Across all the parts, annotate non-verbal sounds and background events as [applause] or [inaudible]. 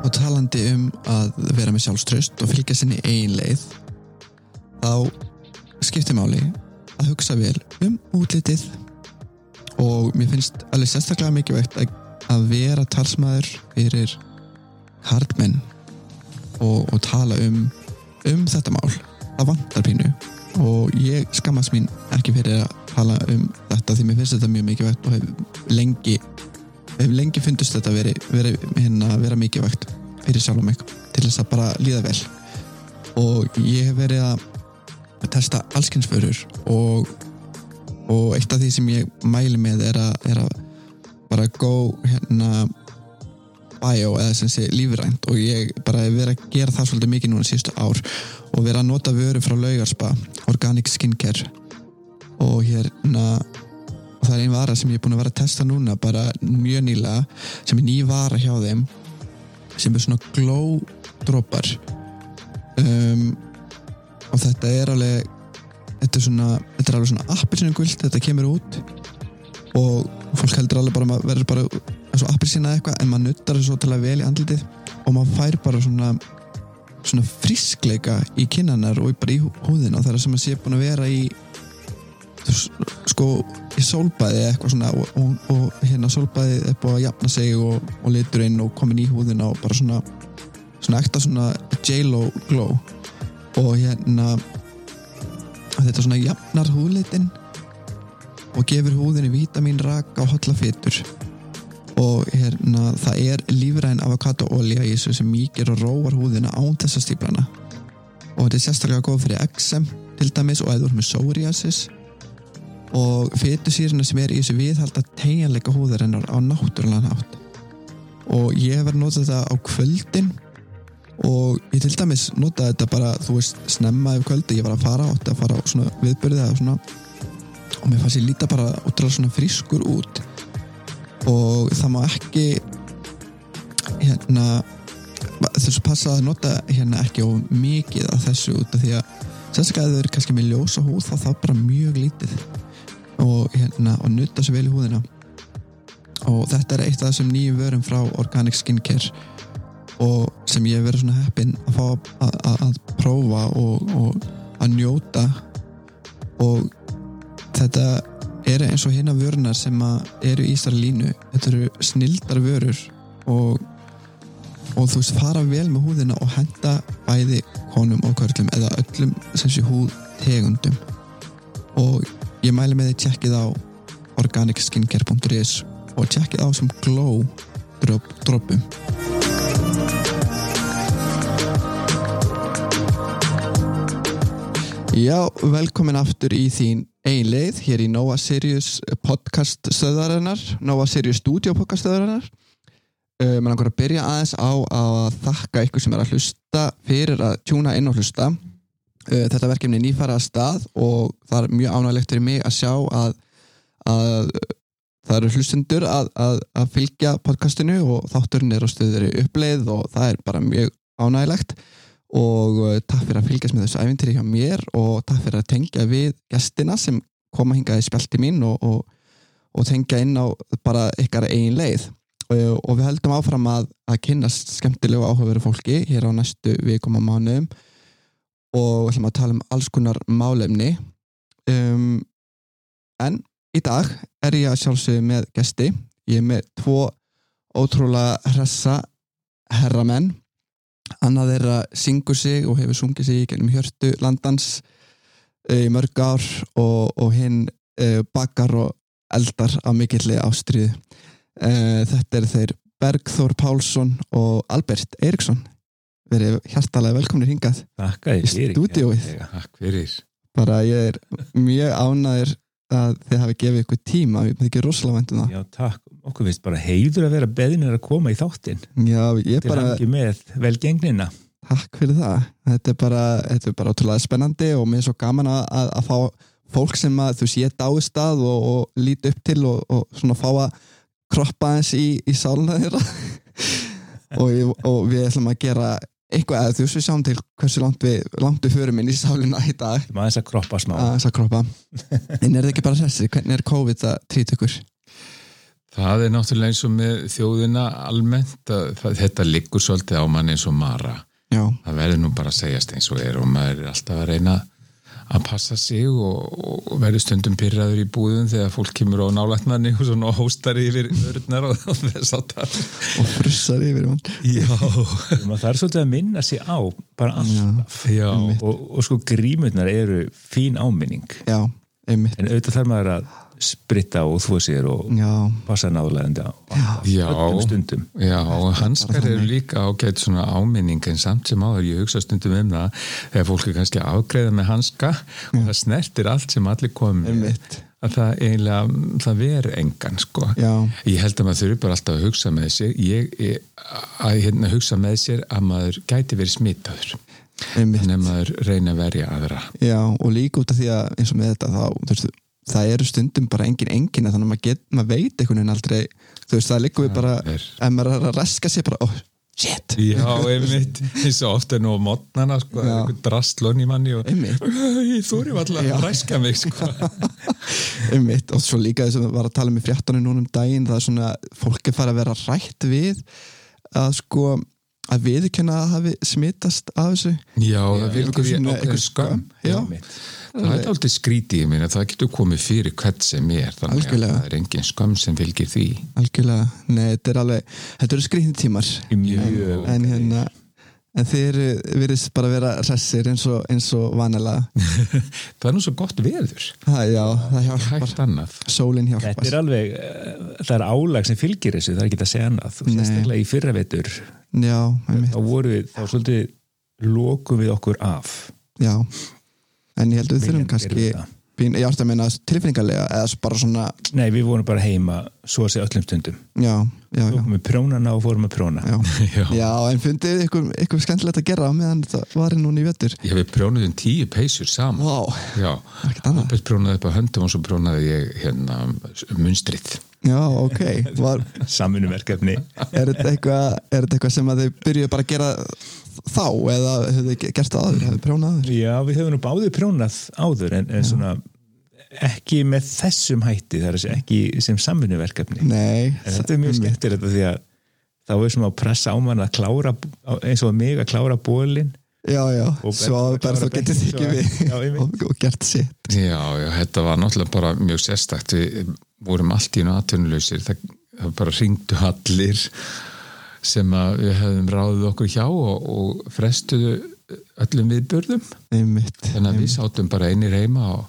vitandi um að vera með sjálfströst og fylgja sinni ein leið þá skiptir máli að hugsa vel um útlitið og mér finnst alveg sérstaklega mikilvægt að, að vera talsmaður fyrir hardmenn og, og tala um um þetta mál það vantar pínu og ég skammast mín ekki fyrir að tala um þetta því mér finnst þetta mjög mikilvægt og hef lengi hef lengi fundist þetta veri, veri, hérna, vera mikilvægt fyrir sjálfum mig til þess að bara líða vel og ég hef verið að testa allskynsförur og, og eitt af því sem ég mæli með er að, er að bara go hérna bio eða sem sé lífrænt og ég bara hef verið að gera það svolítið mikið núna síðustu ár og verið að nota vöru frá laugarspa organic skincare og hérna og það er ein vara sem ég er búin að vera að testa núna bara mjög nýlega sem er ný vara hjá þeim sem er svona glow droppar um, og þetta er alveg þetta er, svona, þetta er alveg svona appelsinu þetta kemur út og fólk heldur alveg bara að maður verður bara svo appelsina eitthvað en maður nuttar þessu ótrúlega vel í andlitið og maður fær bara svona svona friskleika í kinnanar og bara í húðina og það er sem að sé búin að vera í sko í sólbæði eitthvað svona og, og, og hérna sólbæði er búin að jafna sig og, og liturinn og komin í húðina og bara svona svona ekta svona J-Lo glow og hérna þetta svona jafnar húðlitin og gefur húðinni vítamin, raka og hollafittur og hérna það er lífræn avokadóolja í þessu sem mýkir og róar húðina án þess að stífla hana og þetta er sérstaklega góð fyrir XM til dæmis og eða úr með psoriasis og fytusýruna sem er í þessu viðhalda tegjanleika húðarinnar á náttúrulega nátt og ég hef verið að nota þetta á kvöldin og ég til dæmis notaði þetta bara þú veist snemma yfir kvöldi ég var að fara átti að fara á svona viðbyrði eða svona og mér fannst ég líta bara útrúlega svona frískur út og það má ekki hérna þessu passa að nota hérna ekki of mikið af þessu út af því að sérstaklega ef þau eru kannski með ljósa húð þá er það bara mjög lítið og hérna og nutta sér vel í húðina og þetta er eitt af þessum nýjum vörum frá Organic Skincare og sem ég hef verið svona heppinn að fá að, að, að prófa og, og að njóta og þetta eru eins og hérna vörunar sem að eru í þessari línu þetta eru snildar vörur og, og þú veist fara vel með húðina og henda bæði konum og körlum eða öllum sem sé húð tegundum og ég mæli með því tjekkið á organicskincare.is og tjekkið á sem glow drop, droppum Já, velkomin aftur í þín ein leið hér í Nova Sirius podcast stöðarinnar, Nova Sirius studio podcast stöðarinnar uh, maður langar að byrja aðeins á að þakka ykkur sem er að hlusta fyrir að tjúna inn og hlusta uh, þetta verkefni er nýfara að stað og það er mjög ánægilegt fyrir mig að sjá að, að það eru hlustendur að, að, að fylgja podcastinu og þátturinn er á stöður uppleið og það er bara mjög ánægilegt og eh, takk fyrir að fylgjast með þessu æfintýri hjá mér og takk fyrir að tengja við gestina sem koma hingað í spjalti mín og, og, og tengja inn á bara ykkar eigin leið Eh, og við heldum áfram að, að kynnast skemmtilegu áhugaveru fólki hér á næstu vikum og mánuðum og ætlum að tala um alls konar málefni um, en í dag er ég að sjálfsögðu með gesti ég er með tvo ótrúlega hressa herramenn annað þeirra syngur sig og hefur sungið sig í gennum hjörtu landans eh, í mörg ár og, og hinn eh, bakar og eldar á mikilli ástriðu Eh, þetta er þeir Bergþór Pálsson og Albert Eriksson verið hjartalega velkomnir hingað Takk að Í stúdíóið. Takk fyrir. bara ég er mjög ánæður að þið hafi gefið ykkur tíma ég þykir rosalega vænt um það Já, takk. Okkur finnst bara heiður að vera beðinir að koma í þáttinn. Já, ég Til bara, hangi með velgengnina. takk fyrir það þetta er bara, þetta er bara ótrúlega spennandi og mér er svo gaman að, að, að fá fólk sem að þú sé dáist að og, og líti upp til og, og svona fá að kroppa eins í, í sáluna þeirra og, ég, og við ætlum að gera eitthvað eða þú veist við sjáum til hversu langt við, langt við förum inn í sáluna í dag Við maður þess að kroppa smá. Ah. að þess að kroppa en er það ekki bara þessi, hvernig er COVID að trýta ykkur? Það er náttúrulega eins og með þjóðina almennt að það, þetta liggur svolítið á mann eins og mara. já, Það verður nú bara að segjast eins og er og maður er alltaf að reyna að passa sig og, og verður stundum pyrraður í búðum þegar fólk kemur á nálætnarni og svona hóstar yfir örnar og [laughs] þess að það. og frussar yfir hann Já, Maður þarf svolítið að minna sig á bara alltaf já, og, og sko grímurnar eru fín áminning já, einmitt en auðvitað þarf maður að spritta og þvó sér og já, passa náðlæðandi á á já. öllum stundum Já, og hanskar eru líka ágætt svona áminning en samt sem áður, ég hugsa stundum um það þegar fólk er kannski afgreða með hanska og það snertir allt sem allir komið einmitt að það eiginlega, mm, það ver engan sko. Já. Ég held að maður þurfi bara alltaf að hugsa með sér ég, ég, að hérna, hugsa með sér að maður gæti verið smitaður einmitt en maður reyna að verja aðra Já, og líka út af því að eins og með þetta þá, þú veist, það eru stundum bara engin engin þannig að maður, get, maður veit einhvern veginn aldrei, þú veist, það liggur við bara er- ef maður er að raska sér bara, oh, shit [laughs] Já, [laughs] einmitt, eins og ofta nú á mótnana, sko, Já. einhvern drastlun í manni og Einmitt. ég þóri alltaf Já. að ræska mig, [laughs] sko einmitt, og svo líka þess að var að tala með fréttanum núna um daginn, það er svona fólk er farið að vera rætt við að sko, að viðurkenna að hafi smitast af þessu Já, það Einhver virkur svona- okkur einhver skömm já, Einmitt. Það er aldrei skrítið, ég meina, það getur komið fyrir hvert sem er, þannig Algjörlega. að það er engin skömm sem fylgir því [laughs] algjörlega, nei, þetta er alveg þetta eru skrýtni tímar Í mjög en hérna en þeir virðist bara vera hressir eins og, eins og vanalega Það er nú svo gott veður, ha, já, það hjálpar, hægt annað [laughs] sólin Þetta er hjálpar alveg, eh, það er álag sem fylgir þessu, það er ekki hægt að segja annað og Nei. sérstaklega í fyrra vetur þá já, einmitt, voru við, þá svolítið lokum við okkur af já en ég held við þurfum Viljandi kannski gerum það. pín, ég ást að meina tilfinningarlega eða s- bara svona, Nei, við vorum bara heima svo að segja öllum stundum já, já, já, tókum við prónana og fórum að próna já. [laughs] Já. Já, en fundið ykkur, ykkur skemmtilegt að gera á meðan þetta var núna í vettur Ég við prjónuðum tíu peysur saman Vá, Já, ekkert annað Albert prjónaði upp á höndum og svo prjónaði ég hérna munstrið Já, ok, var, [laughs] Samvinnumverkefni er þetta eitthvað er þetta eitthvað sem að þau byrjuðu bara að gera þá eða hefðu þau gert það áður, hefðu prjónað áður Já, við höfum nú báðið prónað áður en, en svona ekki með þessum hætti, það er að segja ekki sem samvinnumverkefni Nei, En þetta er mjög skemmtir þetta því að þá er svona að pressa á mann að klára á- eins og mig að klára bólin já, já, Og svo Bergþór bara þú klárar getur bekkinn, þykir svo- Já, við einmitt. og, og gert sitt Já, já, þetta var náttúrulega bara mjög sérstakt við vorum allt í einu atvinnuleysir það, það bara ringdu allir sem að við hefðum ráðið okkur hjá og, og frestuðu öllum viðbörðum einmitt, þannig að við sátum bara einir heima og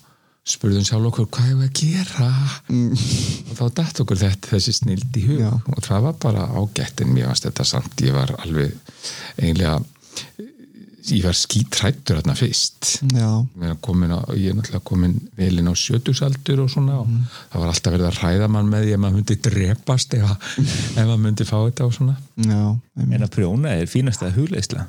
spurðum sjálf okkur hvað hefur að gera og þá dætt okkur þetta þessi snild í hug Mm. Já. og það var bara ágætt en mér varst þetta samt ég var alveg eiginlega ég var skítrættur þarna fyrst já, Ég er komin á, ég er náttúrulega komin velin á sjötugsaldur og svona og Mm. það var alltaf verið að hræða mann með því ef maður myndi drepast [laughs] ef, að- ef maður myndi fá þetta og svona já einmitt. en að prjóna er fínasta hugleisla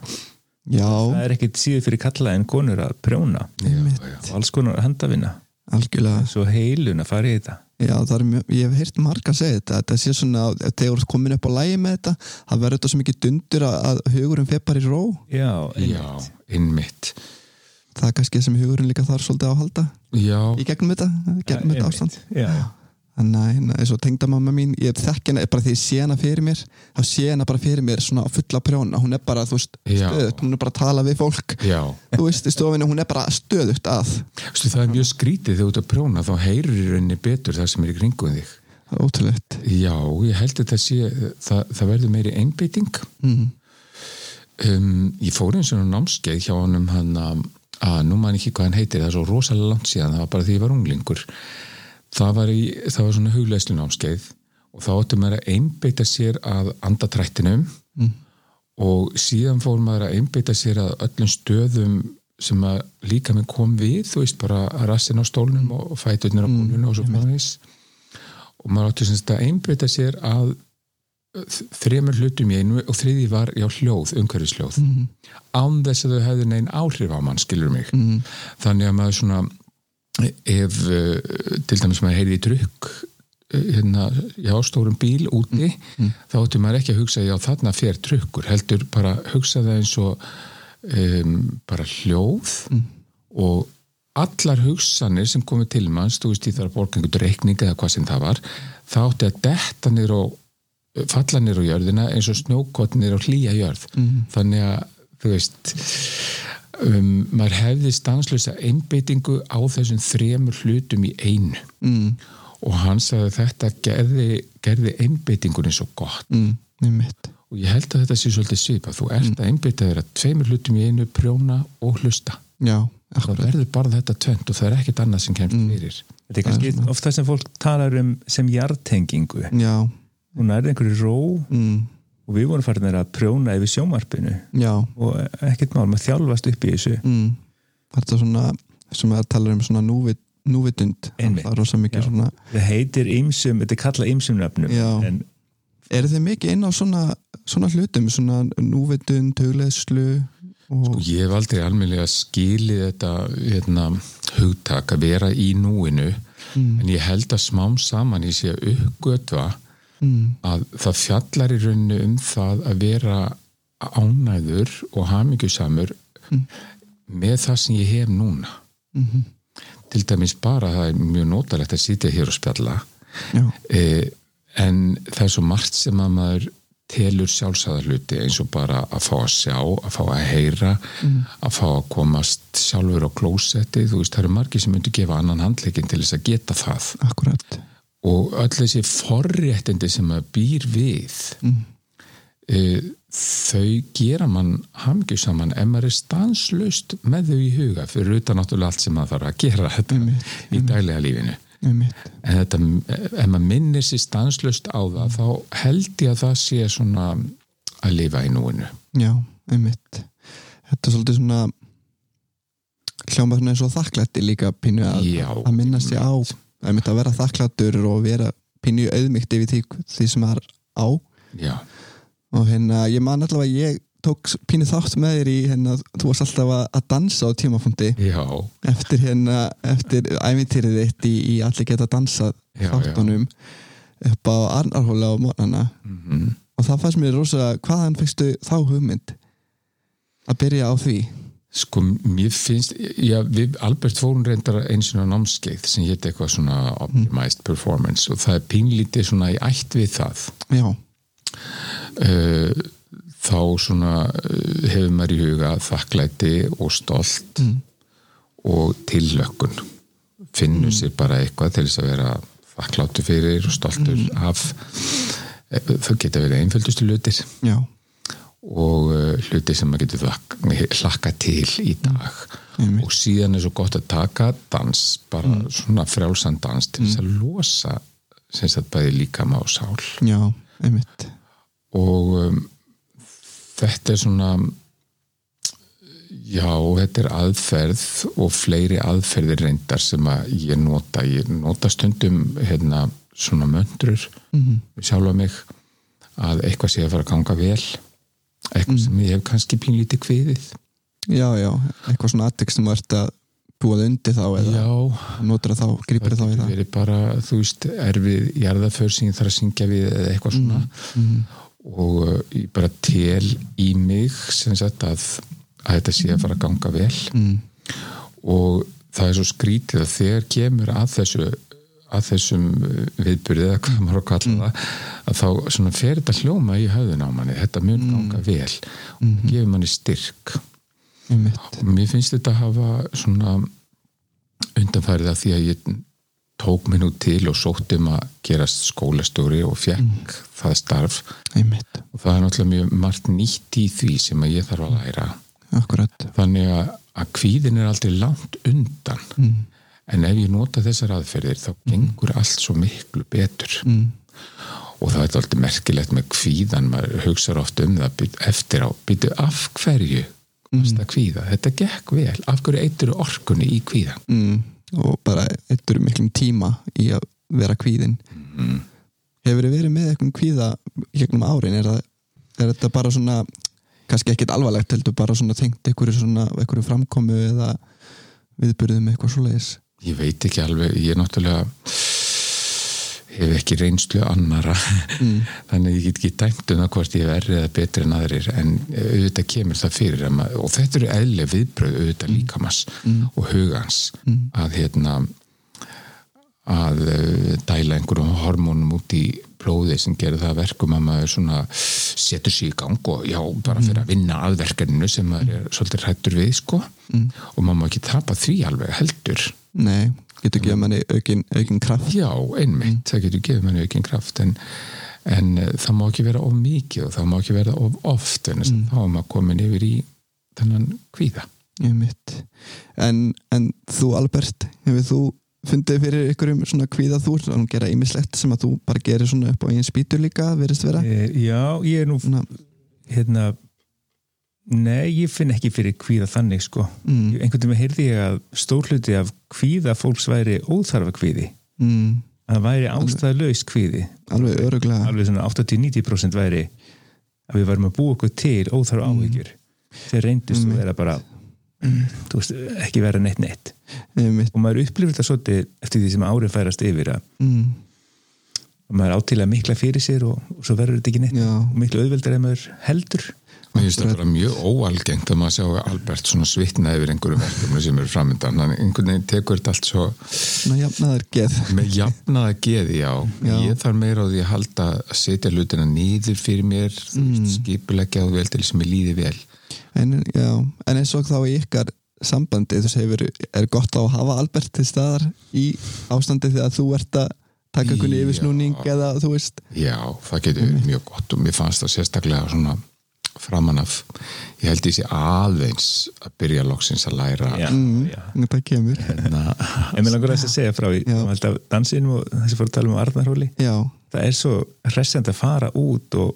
það já, er ekkit síður fyrir kalla en konur að prjóna einmitt, og alls konar handavinna algjörlega svo heilun að fara í þetta já, það er mjög, ég hef heyrt marga að segja þetta þetta sé svona, að þegar þú ert komin upp á lægi með þetta það verður þetta svo mikið dundur að, að hugurinn fer bara í ró, já, en, Já, innmitt það er kannski það sem hugurinn líka þarf svolítið á að halda Já, í gegnum þetta, gegnum þetta einmitt, ástand já, Nei, nei, eh, hérna, eins og tengdamamma mín ég þekk hana bara því ég sé hana fyrir mér þá sé hana bara fyrir mér svona á fulla prjóna hún er bara, þú veist, Já. stöðut hún er bara að tala við fólk, já þú veist, í stofinu hún er bara stöðut að, Vistu, Það er mjög skrítið þegar þú ert að prjóna þá heyrir í rauninni betur það sem er í kringum þig það er ótrúlegt Já, ég held að það sé það, það verður meiri einbytting mm. um, Ég fór eins og námskeið hjá honum hann að að nú man ég ekki hvað hann heitir, það er svo rosalega langt síðan það var bara því ég var unglingur það var, í, það var svona hugleislu námskeið og þá áttu maður að einbeita sér að andatrættinum og síðan fór maður að einbeita sér að öllum stöðum sem að líka minn kom við þú veist bara rassin á stólnum og fæturnir á bólunum og svo framvegis og maður áttu sem þetta að einbeita sér að þ- þremur hlutum í einu og þriði var já hljóð, umhverfisljóð án þess að þau hefðu neinn áhrif á mann skilur mig, þannig að maður svona ef eh, til dæmis maður heyrði í drukk eh, hérna, já, stórum bíl úti þá ætti maður ekki að hugsa já, þarna fer drukkur, heldur bara hugsa það eins og um, bara hljóð og allar hugsanir sem komið til manns, þú veist, ég þarf að borga einhvern reikning eða hvað sem það var, þá átti að detta niður á, falla niður á jörðina eins og snjókott niður á hlýja jörð. Þannig að, þú veist, um, maður hefði stanslösa einbeitingu á þessum þremur hlutum í einu. Mm. Og hann sagði að þetta gerði, gerði einbeitingunni svo gott. mm, einmitt. Og ég held að þetta sé svolítið svipað. Þú ert að einbytta þér að tveimur hlutum í einu prjóna og hlusta. já, Það akkurat verður bara þetta tvönd og það er ekkert annað sem kemst fyrir. Þetta er kannski oft það sem fólk talar um sem jartengingu. já, Hún er einhverju ró mm, og við vorum farinir að prjóna yfir sjómarpinu já og ekkert mál, maður þjálfast upp í þessu. mm, þetta er svona sem að tala um svona núvit, núvitund Einmitt. það er rosa mikið Já. svona Það heitir ymsum, þetta er kallað ymsum nöfnum. Já. En eru þið mikið inn á svona, svona hlutum svona núvitund, hugleðslu og Og ég hef aldrei almennilega skilið þetta hérna, hugtak að vera í núinu en ég held að smám saman ég sé að uppgötva að það fjallar í rauninu um það að vera ánæður og hamingjusamur með það sem ég hef núna. Til dæmis bara það er mjög notalegt að sitja hér og spjalla já, eh, en það er svo margt sem að maður telur sjálfsæðar hluti eins og bara að fá að sjá, að fá að heyra að fá að komast sjálfur á klósetti, þú veist, það eru margir sem myndu gefa annan handleikin til þess að geta það akkurat og öll þessi forréttindi sem maður býr við e, þau gera mann hamgju saman ef maður er stanslaust með þau í huga fyrir utan náttúrulega allt sem maður þarf að gera þetta í daglega lífinu einmitt, en þetta, ef maður minnir sér stanslust á það þá held ég að það sé svona að lifa í núinu já, einmitt þetta er svolítið svona hljóma svona eins og þakklætti líka pínu að, Já. að minna sig á einmitt að vera þakklættur og vera pínu auðmygt yfir því, því sem maður á já, og hérna ég man allavega að ég tók s- pínu þátt með þér í hérna þú varst alltaf að, að dansa á tímapunkti já, eftir hérna eftir ævintýrið þitt í, í allir geta dansað Já, þáttunum upp á Arnarhóla á mornana Mhm. og það fannst mér rosa hvaðan fyrstu þá hugmynd að byrja á því sko mér finnst já, við Albert fórum reyndar eins og námskeið sem hétt eitthvað svona optimized performance og það er pínlítið svona í ætt við það já, Eh, þá svona eh, hefur maður í huga þakklæti og stolt og tillökkun finnur sér bara eitthvað til þess að vera þakkláttu fyrir og stoltur af Eh, þau geta verið einföldustu hlutir já, og eh, hluti sem maður getur þak- hlakka til í dag og síðan er svo gott að taka dans, bara svona frjálsan dans til þess að losa sem sagt bæði líkama og sál já, einmitt og um, þetta er svona já, þetta er aðferð og fleiri aðferðir reyndar sem að ég nota ég nota stundum hérna, svona möndrur mm sjálfa mig að eitthvað sé að fara að ganga vel eitthvað sem ég hef kannski pínlítið kviðið já, já, eitthvað svona atvik sem þú ert að búað undir þá eða já, notur þá, grýpur þá í það það verið bara, þú veist, erfið jarðaför sem ég þarf að syngja við eða eitthvað svona og uh, ég bara tel í mig sem sagt að, að þetta sé að fara að ganga vel mm. og það er svo skrítið að þegar kemur að þessu að þessum uh, viðburði eða hvað maður á að kalla það að þá svona fer þetta hljóma í höfðun á manni þetta mun ganga vel og það gefur manni styrk einmitt, Mér finnst þetta að hafa svona undanfærið að því að ég tók mér nú til og sótt um að gerast skólastjóri og fekk það starf einmitt, og það er náttúrulega mjög margt nýtt í því sem að ég þarf að læra. akkurat Þannig að, að kvíðin er aldrei langt undan en ef ég nota þessar aðferðir þá gengur allt svo miklu betur. mm. Og það er alltaf merkilegt með kvíðan, maður hugsar oft um það být- eftir á, býtu af hverju varst að kvíða, þetta gekk vel, af hverju eitur orkunni í kvíðan? mm, og bara eittur miklum tíma í að vera kvíðin hefur þið verið með eitthvað um kvíða gegnum árin er, það, er þetta bara svona kannski ekkit alvarlegt heldur bara svona tengt einhverju svona einhverju framkomu eða viðburðum eitthvað svoleiðis Ég veit ekki alveg, ég er náttúrulega, hef ekki reynslu annara Mm. þannig að ég get ekki dæmt um það hvort ég hef errið eða betri en aðrir en eh, auðvitað kemur það fyrir að maður, og þetta eru eðlileg viðbröð auðvitað líkamans og hugans Mm. að hérna að eh, dæla einhverjum hormónum út í blóði sem gerir það að verkum að maður svona setur sig í gang og já, bara fyrir að vinna að verkaninu sem maður er svolítið hrættur við sko og maður má ekki tapa því alveg heldur mm. Nei, getur ekki að manni aukin, aukin kraft Já, einmitt, það getur gefið manni aukinn kraft en, en eh, það má ekki vera of mikið og það má ekki vera of oft en mm. þá er maður komin yfir í þennan kvíða. Einmitt. en, en þú Albert hefur þú fundið fyrir ykkurum svona kvíða þú ert að gera ýmislegt sem að þú bara gerir svona upp á einn spýtur líka verðist vera e, já, ég er nú svona, hérna nei, ég finn ekki fyrir kvíða þannig sko Mm. Ég- einhvern tíma heyrði ég að stór hluti af kvíða fólks væri óþarfa kvíði mm, að það væri ástæðlaus kvíði alveg öruglega alveg svona 80-90% væri að við varum að búa okkur til óþarfa Mm. áhyggjur þeir reyndist að vera bara þú veist, ekki vera neitt neitt einmitt, og maður upplifir þetta svolítið eftir því sem árið færast yfir að mm, maður átilega mikla fyrir sér og, og svo verður þetta ekki neitt já, og miklu auðveldar en maður heldur Mér finnst það bara mjög óalgengt að maður sjá Albert svona svitna yfir einhverjum verkefni sem eru framöndan, hann einhvern veginn tekur þetta allt svo svona jafnaðar geð með jafnaða geði, já. Já. Ég þarf meira á því að halda að setja hlutina nýður fyrir mér, mm. skipulegja og vel til sem ég líði vel. en, já, en eins og þá í ykkar sambandi þú segir er gott á að hafa Albert til staðar í ástandi þegar þú ert að taka einhvern Já. yfirsnúning eða þú veist Já, það getur verið mjög gott og mér fannst það sérstaklega svona framan af, ég held ég sé aðeins að byrja loksins að læra já, já. það Mm, kemur hérna, en mér langar þess að segja frá í Já. alltaf dansinum og þessi fór að tala um Arnarhóli já, það er svo hressend að fara út og,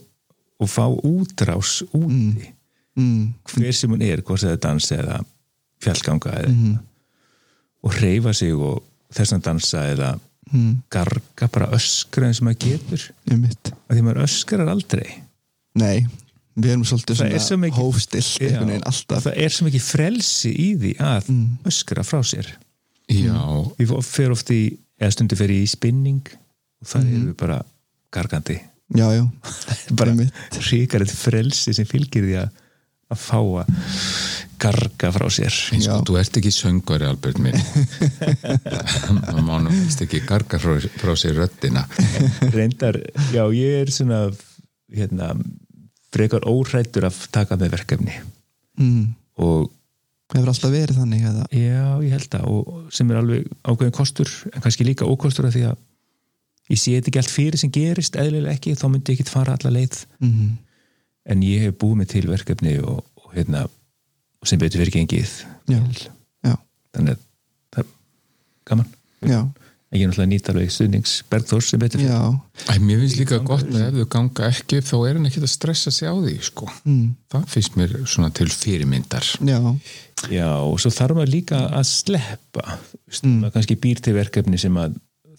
og fá útrás úti mm, hver sem hún er, hvort það er dans eða fjallganga Mhm. eða mm og reyfa sig og þessan dansa eða mm, garga bara öskra eins og maður getur einmitt af því maður öskrar aldrei nei, við erum svolítið Það svona er svo mikið- hófstillt einhvern veginn alltaf Mm. það er sem ekki frelsi í því að öskra frá sér já, við fyrir oft í, eða stundu fyrir í spinning og það mm. eru við bara gargandi já, já, bara Mhm. Einmitt. ríkar eitt frelsi sem fylgir því að að fá að garga frá sér eins Já. og þú ert ekki söngvari Albert minn það má nú finnst ekki garga frá, frá sér röddina reyndar, já ég er svona hérna frekar óhrættur að taka með verkefni mm, og hefur alltaf verið þannig eða, já, ég held að og sem er alveg ákveðin kostur en kannski líka ókostur að því að ég sé þetta ekki allt fyrir sem gerist eðlilega ekki, þá myndi ég ekki fara alla leið mm, en ég hef búið mig til verkefni og, og hérna og sem betur fyrir gengið já, já, þannig að það er gaman já en ég er náttúrulega nýtt alveg stuðnings Bergþórs sem betur fyrir já, Æ, mér finnst líka gott að ef þú ganga ekki upp þá er hann ekki að stressa sig á því sko. mm, það finnst mér svona til fyrirmyndar já, Já, og svo þarf maður líka að sleppa mm. maður kannski býr til verkefni sem að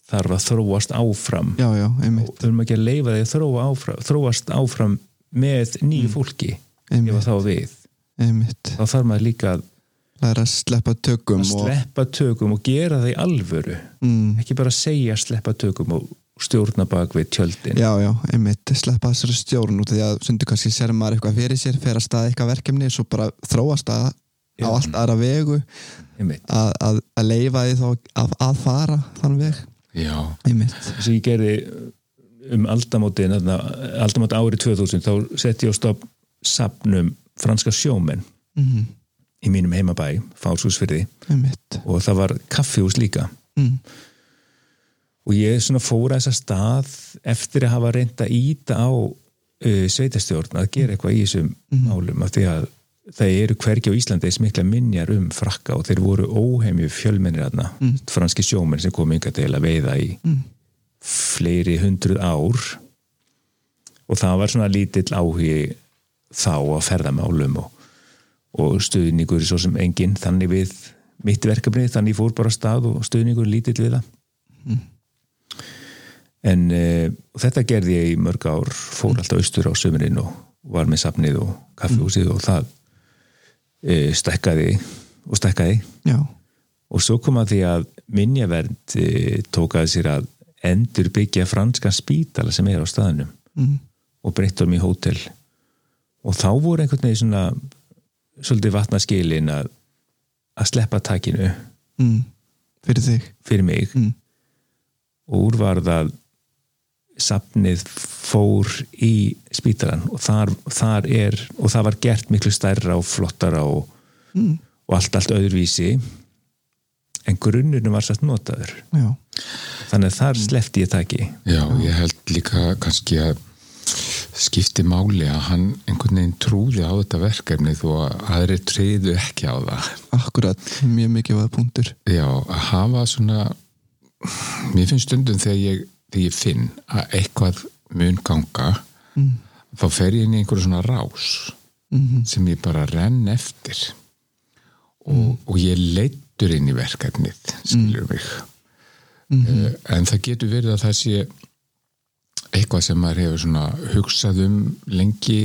þarf að þróast áfram já, já, einmitt og þurfum ekki að leifa því að þróa áfram, þróast áfram með nýju fólki Mm. Einmitt. ef að þá við einmitt, þá þarf maður líka að það er að sleppa tökum og, sleppa tökum og gera það í alvöru mm, ekki bara segja sleppa tökum og stjórna bak við tjöldin já, já, einmitt sleppa þessari stjórn út af því að stundu kannski sér maður eitthvað fyrir sér, fer að staða eitthvað verkefni svo bara þróast að á Já. allt aðra vegu einmitt að, að, að leifa því þá að, að fara þann veg já, einmitt, sem ég gerði um aldamótin aldamót árið 2000 þá setti ég á stopp sapnum franska sjómen mm, í mínum heimabæ, Fálshúsfyrði einmitt og það var kaffihús líka mm, og ég svona fór að þessa stað eftir að hafa reynd að íta á uh, sveitastjórn að gera eitthvað í þessum málum af því að það eru hvergi á Íslandi eins mikla minjar um frakka og þeir voru óheimju fjölmennir aðna franski sjómenn sem kom yngar til að veiða í fleiri hundruð ár og það var svona lítill áhugi þá að ferðamálum og, og stuðningur svo sem enginn þannig við mitt verkefni, þannig ég fór bara af stað og stuðningur lítill við það mm, en uh, þetta gerði ég í mörg ár fór alltaf austur á sömurinn og var með safnið og kaffihúsið og það uh, stækkaði og stækkaði já, og svo kom eh, að því að minjavernd uh, tókaði sér að endur byggja franskan spítala sem er á staðnum mm, og breyttum í hótel og þá voru einhvern veginn svona svolítið vatna skilin að, að sleppa takinu mm, fyrir þig fyrir mig mm, og úr var það safnið fór í spítalan og þar, þar er og það var gert miklu stærra og flottara og, mm, og allt, allt öðruvísi en grunnurinn var satt notaður já, þannig að þar sleppti ég taki Já, ég held líka kannski að skipti máli að hann einhvern veginn trúði á þetta verkefni þó að aðri treyðu ekki á það. akkurat mjög mikið var punktur Já, að hafa svona, mér finnst stundum þegar ég, þegar ég finn að eitthvað mun ganga, þá fer ég inn í einhverju svona rás Mhm. sem ég bara renn eftir og, og ég leittur inn í verkefnið, skilur mig. Eh, En það getur verið að það sé eitthvað sem maður hefur svona hugsað um lengi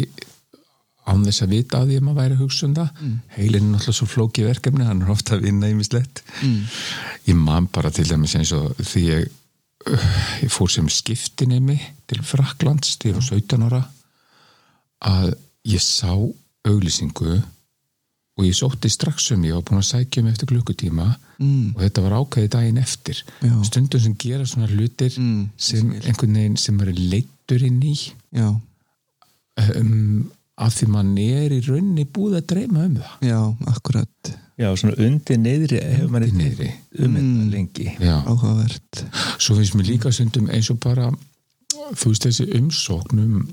án þess að vita að því að maður væri að hugsa um það mm. heilin er náttúrulega svo flókið verkefni hann er ofta að vinna ímislegt mm. ég man bara til dæmis eins og því ég, uh, ég fór sem skiptinemi til Fraklands þegar ég var 17 ára að ég sá auglýsingu og ég sótti strax um ég var búin að sækja um eftir klukkutíma mm. og þetta var ákveði daginn eftir Já. stundum sem gera svona hlutir Mm, sem einhvern veginn sem maður er leittur inn í já, um, af því maður er í rauninni búið að dreyma um það já, akkurat Já, svona undir neyðri hefur maður Undir ekki niðri. um þetta lengi Já. áhugavert svo finnst mér líka sundum eins og bara þú veist þessi umsóknum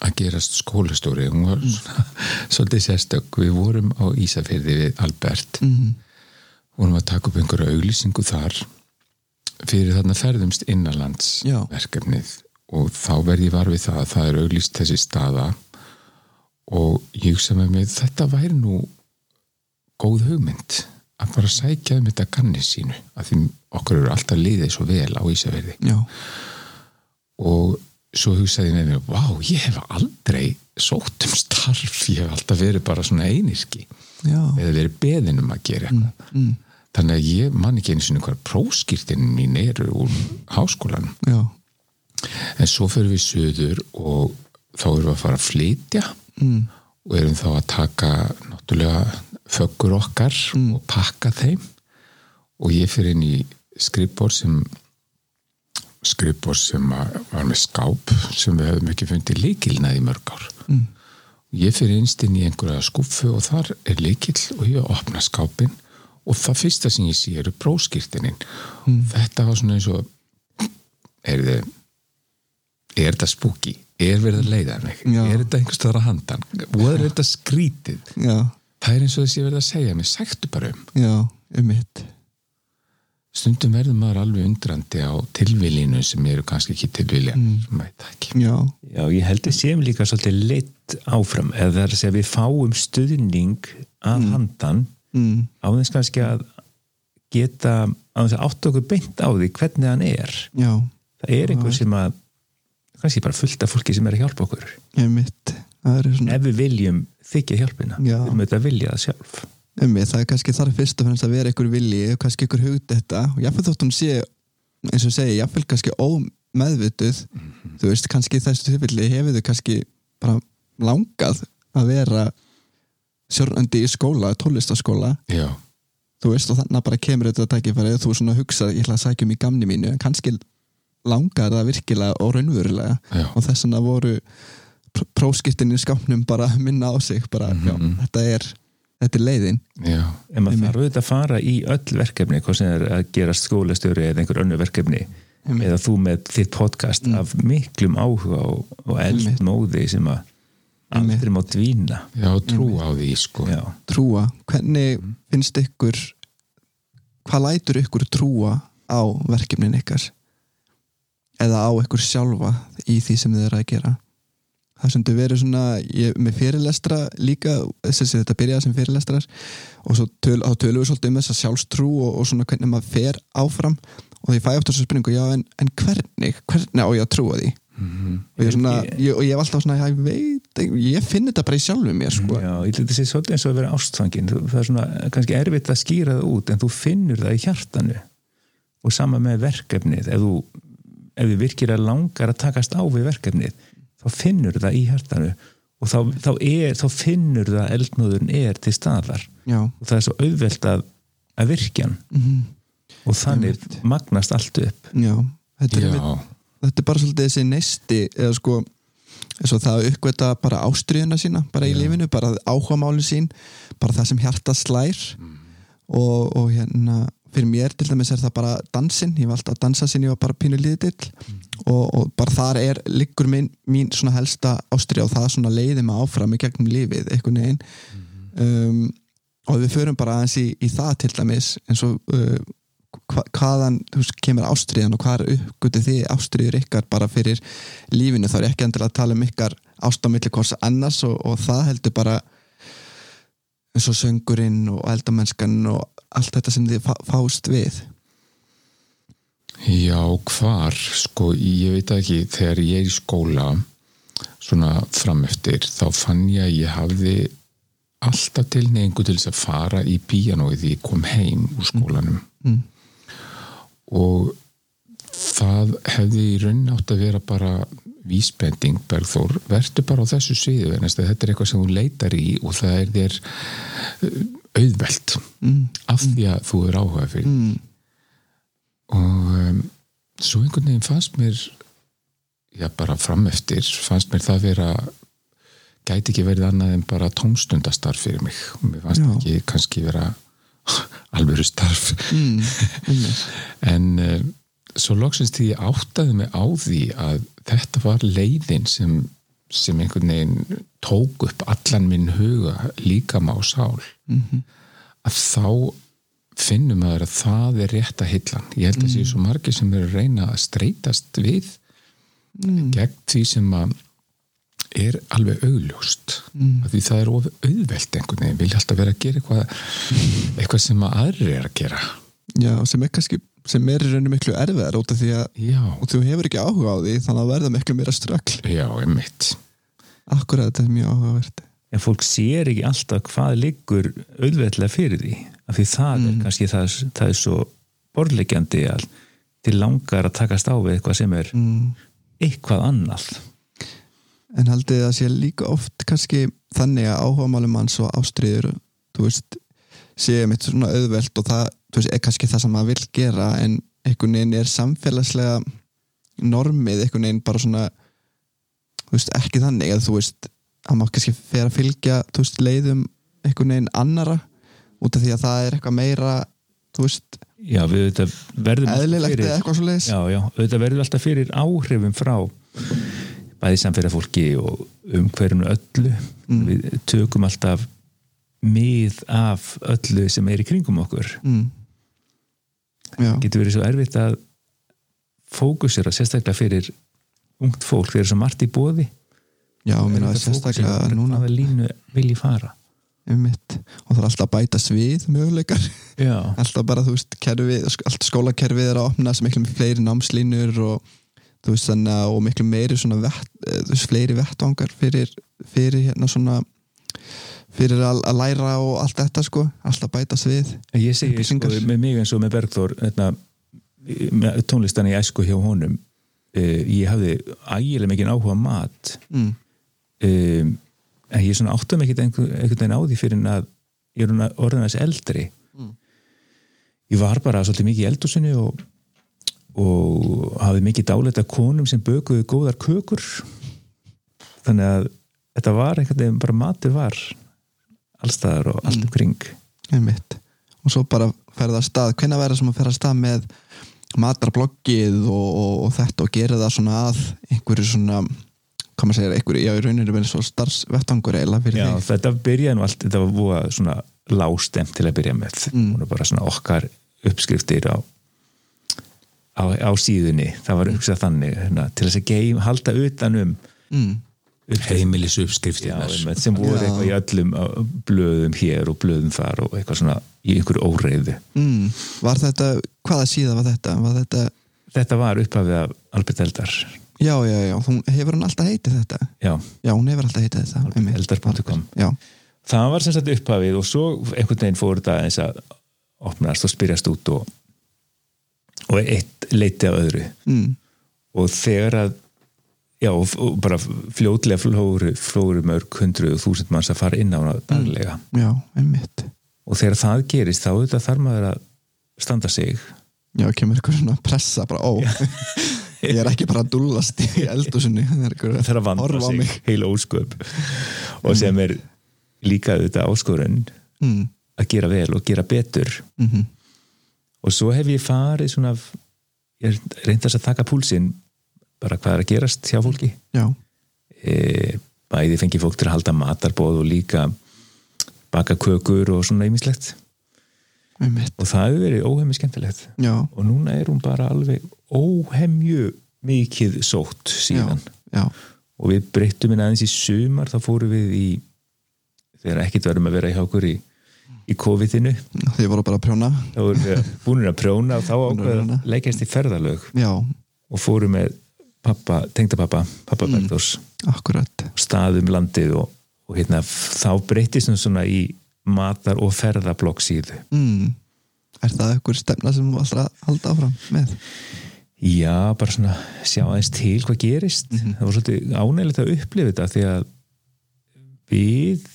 að gerast skólastjóri hún Mm. var svona, [laughs] svolítið sérstök við vorum á Ísafirði við Albert mm, vorum að taka upp einhverja auglýsingu þar fyrir þarna ferðumst innanlands Já. verkefnið og þá verð ég var við það að það er auglýst þessi staða og ég hugsa með mig þetta væri nú góð hugmynd að bara sækja um þetta kannir sínu að því okkur eru alltaf liðið svo vel á Ísafirði já, og svo hugsaði ég með mér vá, ég hef aldrei sótt um starf, ég hef alltaf verið bara svona einirki já eða verið beðin um að gera eitthvað mm, þannig að ég man ekki einu sinni hvar próskýrtinin mín eru úr háskólanum já, en svo fyrir við söður og þá erum við að fara að flytja mm, og erum þá að taka náttúrulega föggur okkar Mm. og pakka þeim og ég fyrir inn í skrifbór sem skrifbór sem að- var með skáp sem við höfum ekki fundið líkilnað í mörg ár mm. ég fyrir innst inn í einhverja skúffu og þar er líkil og ég opna skápin og það fyrsta sem ég sé eru próskýrtinin þetta var svona eins og er þið er þetta spooky, er verið að leiða mig Já. er þetta einhvers staðar að handan og er þetta skrítið já, það er eins og þessi verið að segja mig, sæktu bara um já um mitt stundum verður maður alveg undrandi á tilvilinu sem eru kannski ekki tilvilja mm. ekki. já, Já, ég held við séum líka svolítið leitt áfram eða það er að segja við fáum stuðning að handan mm, á þess kannski að geta á þess að átt okkur beint á því hvernig hann er já það er einhver sem að kannski bara fullt af fólki sem er að hjálpa okkur um mitt, það er svona ef við viljum þykja hjálpina Já. við mögum þetta vilja það sjálf Emi, það er kannski þar fyrst og fremst að vera ykkur vilji og kannski ykkur hugt þetta og jáfnveg þótt hún sé, eins og segi jáfnveg kannski ómeðvituð þú veist, kannski í þessu tilfelli hefur þau kannski bara langað að vera sjörnandi í skóla, tólistaskóla já, þú veist, og þannig að bara kemur þetta tækifæri þú svona hugsa, ég ætla að sækja um í gamni mínu en kannski langar það virkilega og raunverulega já, og þess vegna voru pr- próskiptin í skápnum bara að minna á sig bara, já, þetta er, þetta er leiðin já en maður þarf auðvitað að fara í öll verkefni hvað sem er að gera skólastjóri eða einhver önnu verkefni eða þú með þitt podcast af miklum áhuga og, og eldmóði sem að aldrei má dvína já, trú á því sko já, trúa hvernig finnst ykkur hvað lætur ykkur trúa á verkefnin ykkar eða á ykkur sjálfa í því sem þið eru að gera það sem þau verið svona ég, með fyrirlestra líka þess að þetta byrjaði sem fyrirlestrar og svo töl, þá tölum við svolítið um þess að sjálfstrú og, og svona hvernig maður fer áfram og ég fæ ofta svo spurningu, já en, en hvernig hvernig á ég að trúa því og, Mhm. ég er svona, ég, og ég hef alltaf svona, já, ég veit ekki, ég finn þetta bara í sjálfu mér sko. já ég hluti sér svolítið eins og að vera ástfangin Þú- það er svona kannski erfitt að skýra það út en þú finnur það í hjartanu og sama með verkefnið ef þú, ef þú virkir að langar að takast á við verkefnið þá finnur það í hjartanu og þá, þá, er, þá finnur það að eldnóðurinn er til staðar já, og það er svo auðvelt að, að virkja hann mhm, og þannig magnast allt upp já þetta er, já, einmitt- þetta er bara svolítið þessi neisti eða sko eins og það að uppgöta bara ástriðuna sína bara í lífinu, bara áhugamálin sín bara það sem hjarta slær og, og hérna fyrir mér til dæmis er það bara dansinn ég var alltaf að dansa sinni og bara pínu liðill og, og bara þar er liggur minn, mín svona helsta ástrið og það svona leiði mig áfram í gegnum lífið einhvern veginn um, og við förum bara aðeins í, í það til dæmis eins og uh, hva, hvaðan þú veist, kemur ástriðan og hvað er uppgötu þið ástriður ykkar bara fyrir lífinu þá er ég ekki endilega að tala um ykkar ástamilli hvors annars og, og það heldur bara eins og söngurinn og eldamennskan og allt þetta sem þið fá, fást við já, hvar sko, ég veit það ekki, þegar ég er í skóla svona framöftir þá fann ég að ég hafði alltaf tilneyingu til þess að fara í píanóið því ég kom heim úr skólanum Mm. og það hefði í raun átt að vera bara vísbending Bergþór, verður bara á þessu sviðu vegna þess að þetta er eitthvað sem þú leitar í og það er þér eh, auðvelt mm, af því að þú er áhuga fyrir mm, og um, svo einhvern veginn fannst mér já bara framöftir fannst mér það vera gæti ekki verið annað en bara tómstundastarf fyrir mig og mér fannst Já. ekki kannski vera [laughs] alvöru starf mm, mm, en uh, svo loksins því ég áttaði mig á því að þetta var leiðin sem, sem einhvern veginn tók upp allan minn huga líka má sál mm, að þá finnum maður að það er rétta hillan. Ég held að séu svo margir sem eru að reyna að streytast við mm, gegn því sem að er alveg augljóst Mm. af því það er of auðvelt einhvern veginn vilja alltaf vera að gera eitthvað, eitthvað sem að aðrir er að gera já, sem er kannski sem er í rauninu miklu erfiðar út af því að Já, og þú hefur ekki áhuga á því þannig að verða miklu meira ströggl já, emmitt akkurat þetta er mjög áhugavert en fólk sér ekki alltaf hvað liggur auðveldlega fyrir því af því það Mm. er kannski það, það er svo borðleggjandi að til langar að takast á við eitthvað sem er mm. eitthvað annað En haldið þið að sé líka oft kannski þannig að áhugamálum manns og ástriður, þú veist, séu mitt svona auðvelt og það, þú veist, er kannski það sem maður vil gera en einhvern veginn er samfélagslega normið, einhvern veginn bara svona, þú veist, ekki þannig að þú veist, að maður kannski fer að fylgja, þú veist, leiðum einhvern veginn annara út af því að það er eitthvað meira, þú veist, já við auðvitað verðum alltaf eðlilegt fyrir- eða eitthvað svo leiðis. já, já, auðvitað verður alltaf fyrir áhrifum frá bæði samfélag fólki og umhverjum öllu Mm. við tökum alltaf mið af öllu sem er í kringum okkur Mm. Já, getur verið svo erfitt að fókusera sérstaklega fyrir ungt fólk, þeir eru svo margt í bóði já, mér að sérstaklega núna, hvaða línu vil ég fara um og það er alltaf að bætast við möguleikar. [laughs] já, alltaf bara, þú veist, kerfi, allt skólakerfið er að opna sem miklu fleiri námslínur og þú veist þannig að og miklu meiri svona vett, eh, þú veist, fleiri vettvangar fyrir, fyrir hérna svona fyrir að, að læra og allt þetta sko, alltaf bætast við ég segi sko, Upplýsingar. með mig eins og með Bergþór þetta, með tónlistan í æsku hjá honum uh, ég hafði ægilega mikið áhuga á mat mm. um, en ég svona áttum ekkert einhvern einhvern veginn á því fyrir en að ég er svona orðin aðeins eldri Mm. ég var bara svolítið mikið í eldhúsinu og, og hafði mikið dálætt að konum sem bökuðu góðar kökur þannig að þetta var einhvern veginn bara matur var allstaðar og allt umkring einmitt og svo bara ferða að stað, hvenær verða sem að ferða að stað með matarbloggið og, og, og þetta og gera það svona að einhverju svona hvað maður segir, einhverju, já í rauninu verið svo starfsvettvangur eiginlega fyrir Já, þig þetta byrjaði nú allt, þetta var búið að svona lástemt til að byrja með Mm. og bara svona okkar uppskriftir á, á, á síðunni það var hugsað þannig hérna, til þess að geim, halda utanum mm. Heimilis já, uppskriftinnar einmitt, sem voru Já. eitthvað í öllum uh, blöðum hér og blöðum þar og eitthvað svona í einhverju óreiðu Mm, var þetta, hvaða síða var þetta? Var þetta, þetta var upphafið af Albert Eldar já, já, já, hún, hefur hún alltaf heitið þetta? já, Já, hún hefur alltaf heitið þetta. einmitt. eldar.com Já, það var sem sagt upphafið og svo einhvern veginn fór þetta eins að opnast og spyrjast út og og eitt leiti af öðru mm, og þegar að já, og f- og bara fljótlega flóru, flóru mörg hundruð og þúsund manns að fara inn á hana daglega já, einmitt og þegar það gerist þá auðvitað þarf maður að standa sig já, kemur eitthvað svona pressa bara ó, [laughs] ég er ekki bara að dúllast í eldúsunni það er eitthvað það þarf að vanda horfa á sig Mm. mig heila ósköp og sem er líka auðvitað áskorun mm, að gera vel og gera betur mm og svo hef ég farið svona ég reyndast að taka púlsinn bara hvað er að gerast hjá fólki já, e, bæði fengi fólk til að halda matarboð og líka baka kökur og svona ýmislegt einmitt og það hefur verið óhemmi skemmtilegt já, og núna er hún bara alveg óhemju mikið sótt síðan já, og við breyttum henni aðeins í sumar þá fórum við í þegar ekkert verðum að vera í okkur í, í COVID-inu já, þið voru bara að prjóna þá vorum við búinir að prjóna og þá ákveðum prjóna. að leikast í ferðalög já, og fórum með pappa, tengdapappa pappa mm. Bergdórs akkurat staðum landið og, og hérna, f- þá breytist hún svona í matar- og ferðablokk síðu mm, er það eitthvað stefna sem þú ætlar að halda áfram með já, bara svona sjá aðeins til hvað gerist Mhm. það var svolítið ánægilegt að upplifa þetta því að við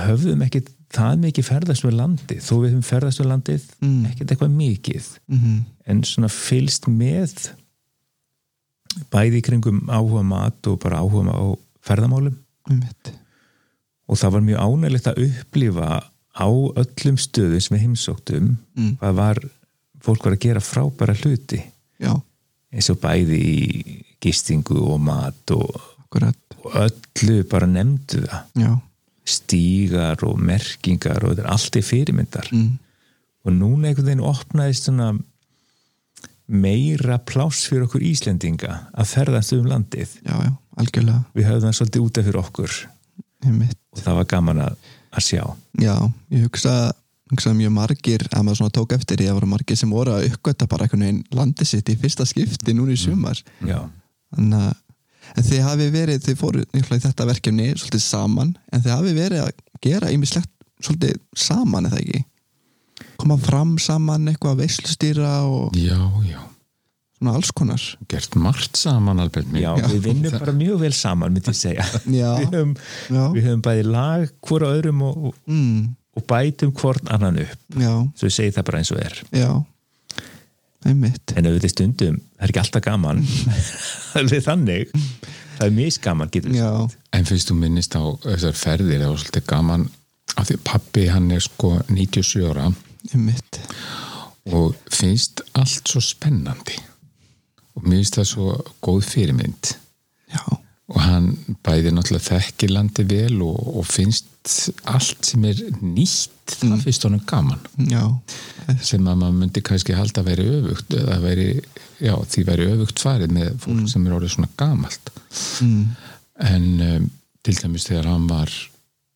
höfðum ekki það mikið ferðast með landið þó við höfum ferðast með landið Mm. ekkert eitthvað mikið mm, en svona fylst með bæði í kringum áhuga mat og bara áhuga á ferðamálum einmitt og það var mjög ánægilegt að upplifa á öllum stöðum sem við heimsóktum Mm. hvað var, fólk var að gera frábæra hluti já, eins og bæði í gistingu og mat og, akkurat og öllu bara nefndu það já, stígar og merkingar og þetta er allt í fyrirmyndar mm, og núna einhvern veginn opnaðist svona meira pláss fyrir okkur Íslendinga að ferðast um landið já, já, algjörlega við höfðum það svolítið útaf fyrir okkur einmitt og það var gaman að, að sjá Já, ég hugsa, hugsa mjög margir að maður svona tók eftir í að voru margir sem voru að uppgöta bara einhvern veginn landi sitt í fyrsta skipti núna í sumar já, þannig að en þið hafi verið, þið fóru náttúrulega í þetta verkefni svolítið saman, en þið hafi verið að gera ýmislegt svolítið saman eða ekki koma fram saman eitthvað veislustýra og já, já, svona alls konar gert margt saman Albert minn já við vinnum bara mjög vel saman myndi ég segja Já, við, höfum, já, við höfum bæði lag hvora öðrum og, og- mm, og bætum hvorn annan upp já, svo ég segi það bara eins og er já einmitt, en auðvitað stundum, það er ekki alltaf [laughs] gaman alveg þannig það er misgaman getur við já En fyrst þú minnist á þessar ferðir það var svolítið gaman af því pappi hann er sko 97 ára einmitt, og finnst allt svo spennandi og mér finnst það svo góð fyrirmynd já, og hann bæði náttúrulega þekkir landi vel og, og finnst allt sem er nýtt það finnst honum gaman já sem að maður myndi kannski halda að veri öfugt eða veri, já, því veri öfugt farið með fólk sem er orðið svona gamalt mm, en um, til dæmis þegar hann var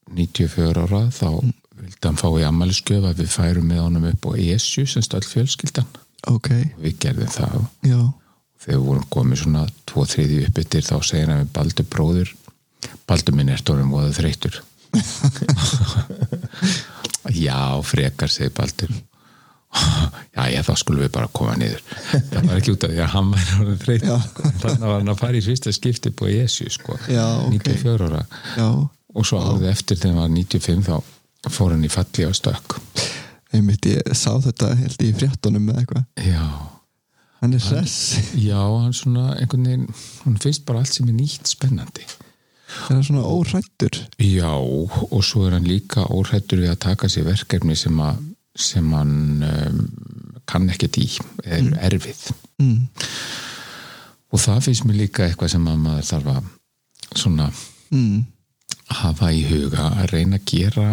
94 ára þá vildi hann fá í ammælisgjöf að við færum með honum upp á ESU sem stöld fjölskyldan ok, og við gerðum það og já þegar við vorum komið svona tvo þriði upp yttir þá segir hann við Baldur bróður Baldur minn er tórum voða þreytur [laughs] já, frekar segir Baldur [laughs] já, já, þá skulum við bara koma niður það var ekki út af því að hann var orðin Já. [laughs] þreytur sko. þannig var hann að fara í fyrsta skipti på ESU sko, Já, ok. 94 ára já, og svo árið eftir þegar hann var 95 þá fór hann í falli á stökk einmitt ég sá þetta held ég í fréttunum með eitthvað já, hann er hress, já, hann svona einhvern veginn, hann finnst bara allt sem er nýtt spennandi er hann svona órættur Já, og svo er hann líka óhrættur við að taka sér verkefni sem, að, sem hann um, kann ekkert í, er erfið. mm, Og það finnst mér líka eitthvað sem að maður þarf að svona mm, hafa í huga að reyna að gera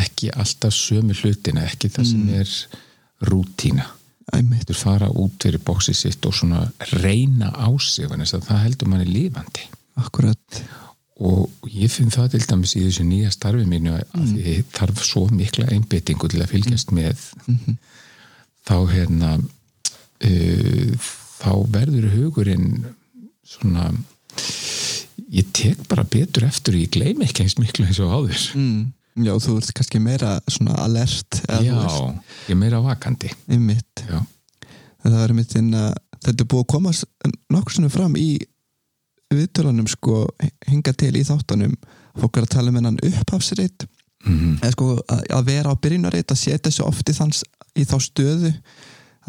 ekki alltaf sömu hlutina, ekki það sem er rútína. einmitt, Þetta fara út fyrir bóksið sitt og svona reyna á sig, þannig að það heldur manni lífandi. akkurat og ég finn það til dæmis í þessu nýja starfi mínu að mm. ég þarf svo mikla einbyttingu til að fylgjast með þá hérna uh, þá verður hugurinn svona ég tek bara betur eftir og ég gleym ekki eins miklu eins og áður mm, já, þú ert kannski meira svona alert eða þú já, ert- ég er meira vakandi einmitt, já, en það var einmitt þinn að þetta er búið að komast nokkur sinnum fram í viðtölunum sko hinga til í þáttunum fólk er að tala um hennan upphafsreitt Mhm. eða sko að, að vera á byrjunarreitt að setja sig oft í, þanns, í þá stöðu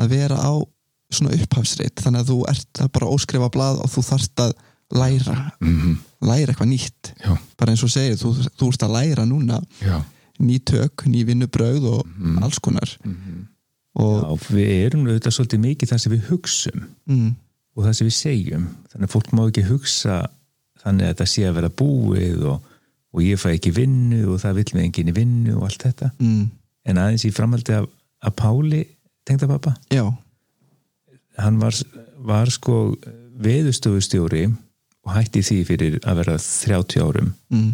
að vera á svona upphafsreitt þannig að þú ert það er bara óskrifa blað og þú þarft að læra Mhm. læra eitthvað nýtt Já, bara eins og segir, þú, þú ert að læra núna já. ný tök, ný vinnubrögð og alls konar og Mhm. Já, við erum auðvitað svolítið mikið það sem við hugsum mm, og það sem við segjum þannig að fólk má ekki hugsa þannig að þetta sé að vera búið og, og ég fæ ekki vinnu og það vill mig enginn í vinnu og allt þetta mm, en aðeins í framhaldi af, af Páli tengdapappa, já hann var, var sko veðustofustjóri og hætti því fyrir að vera 30 árum mm,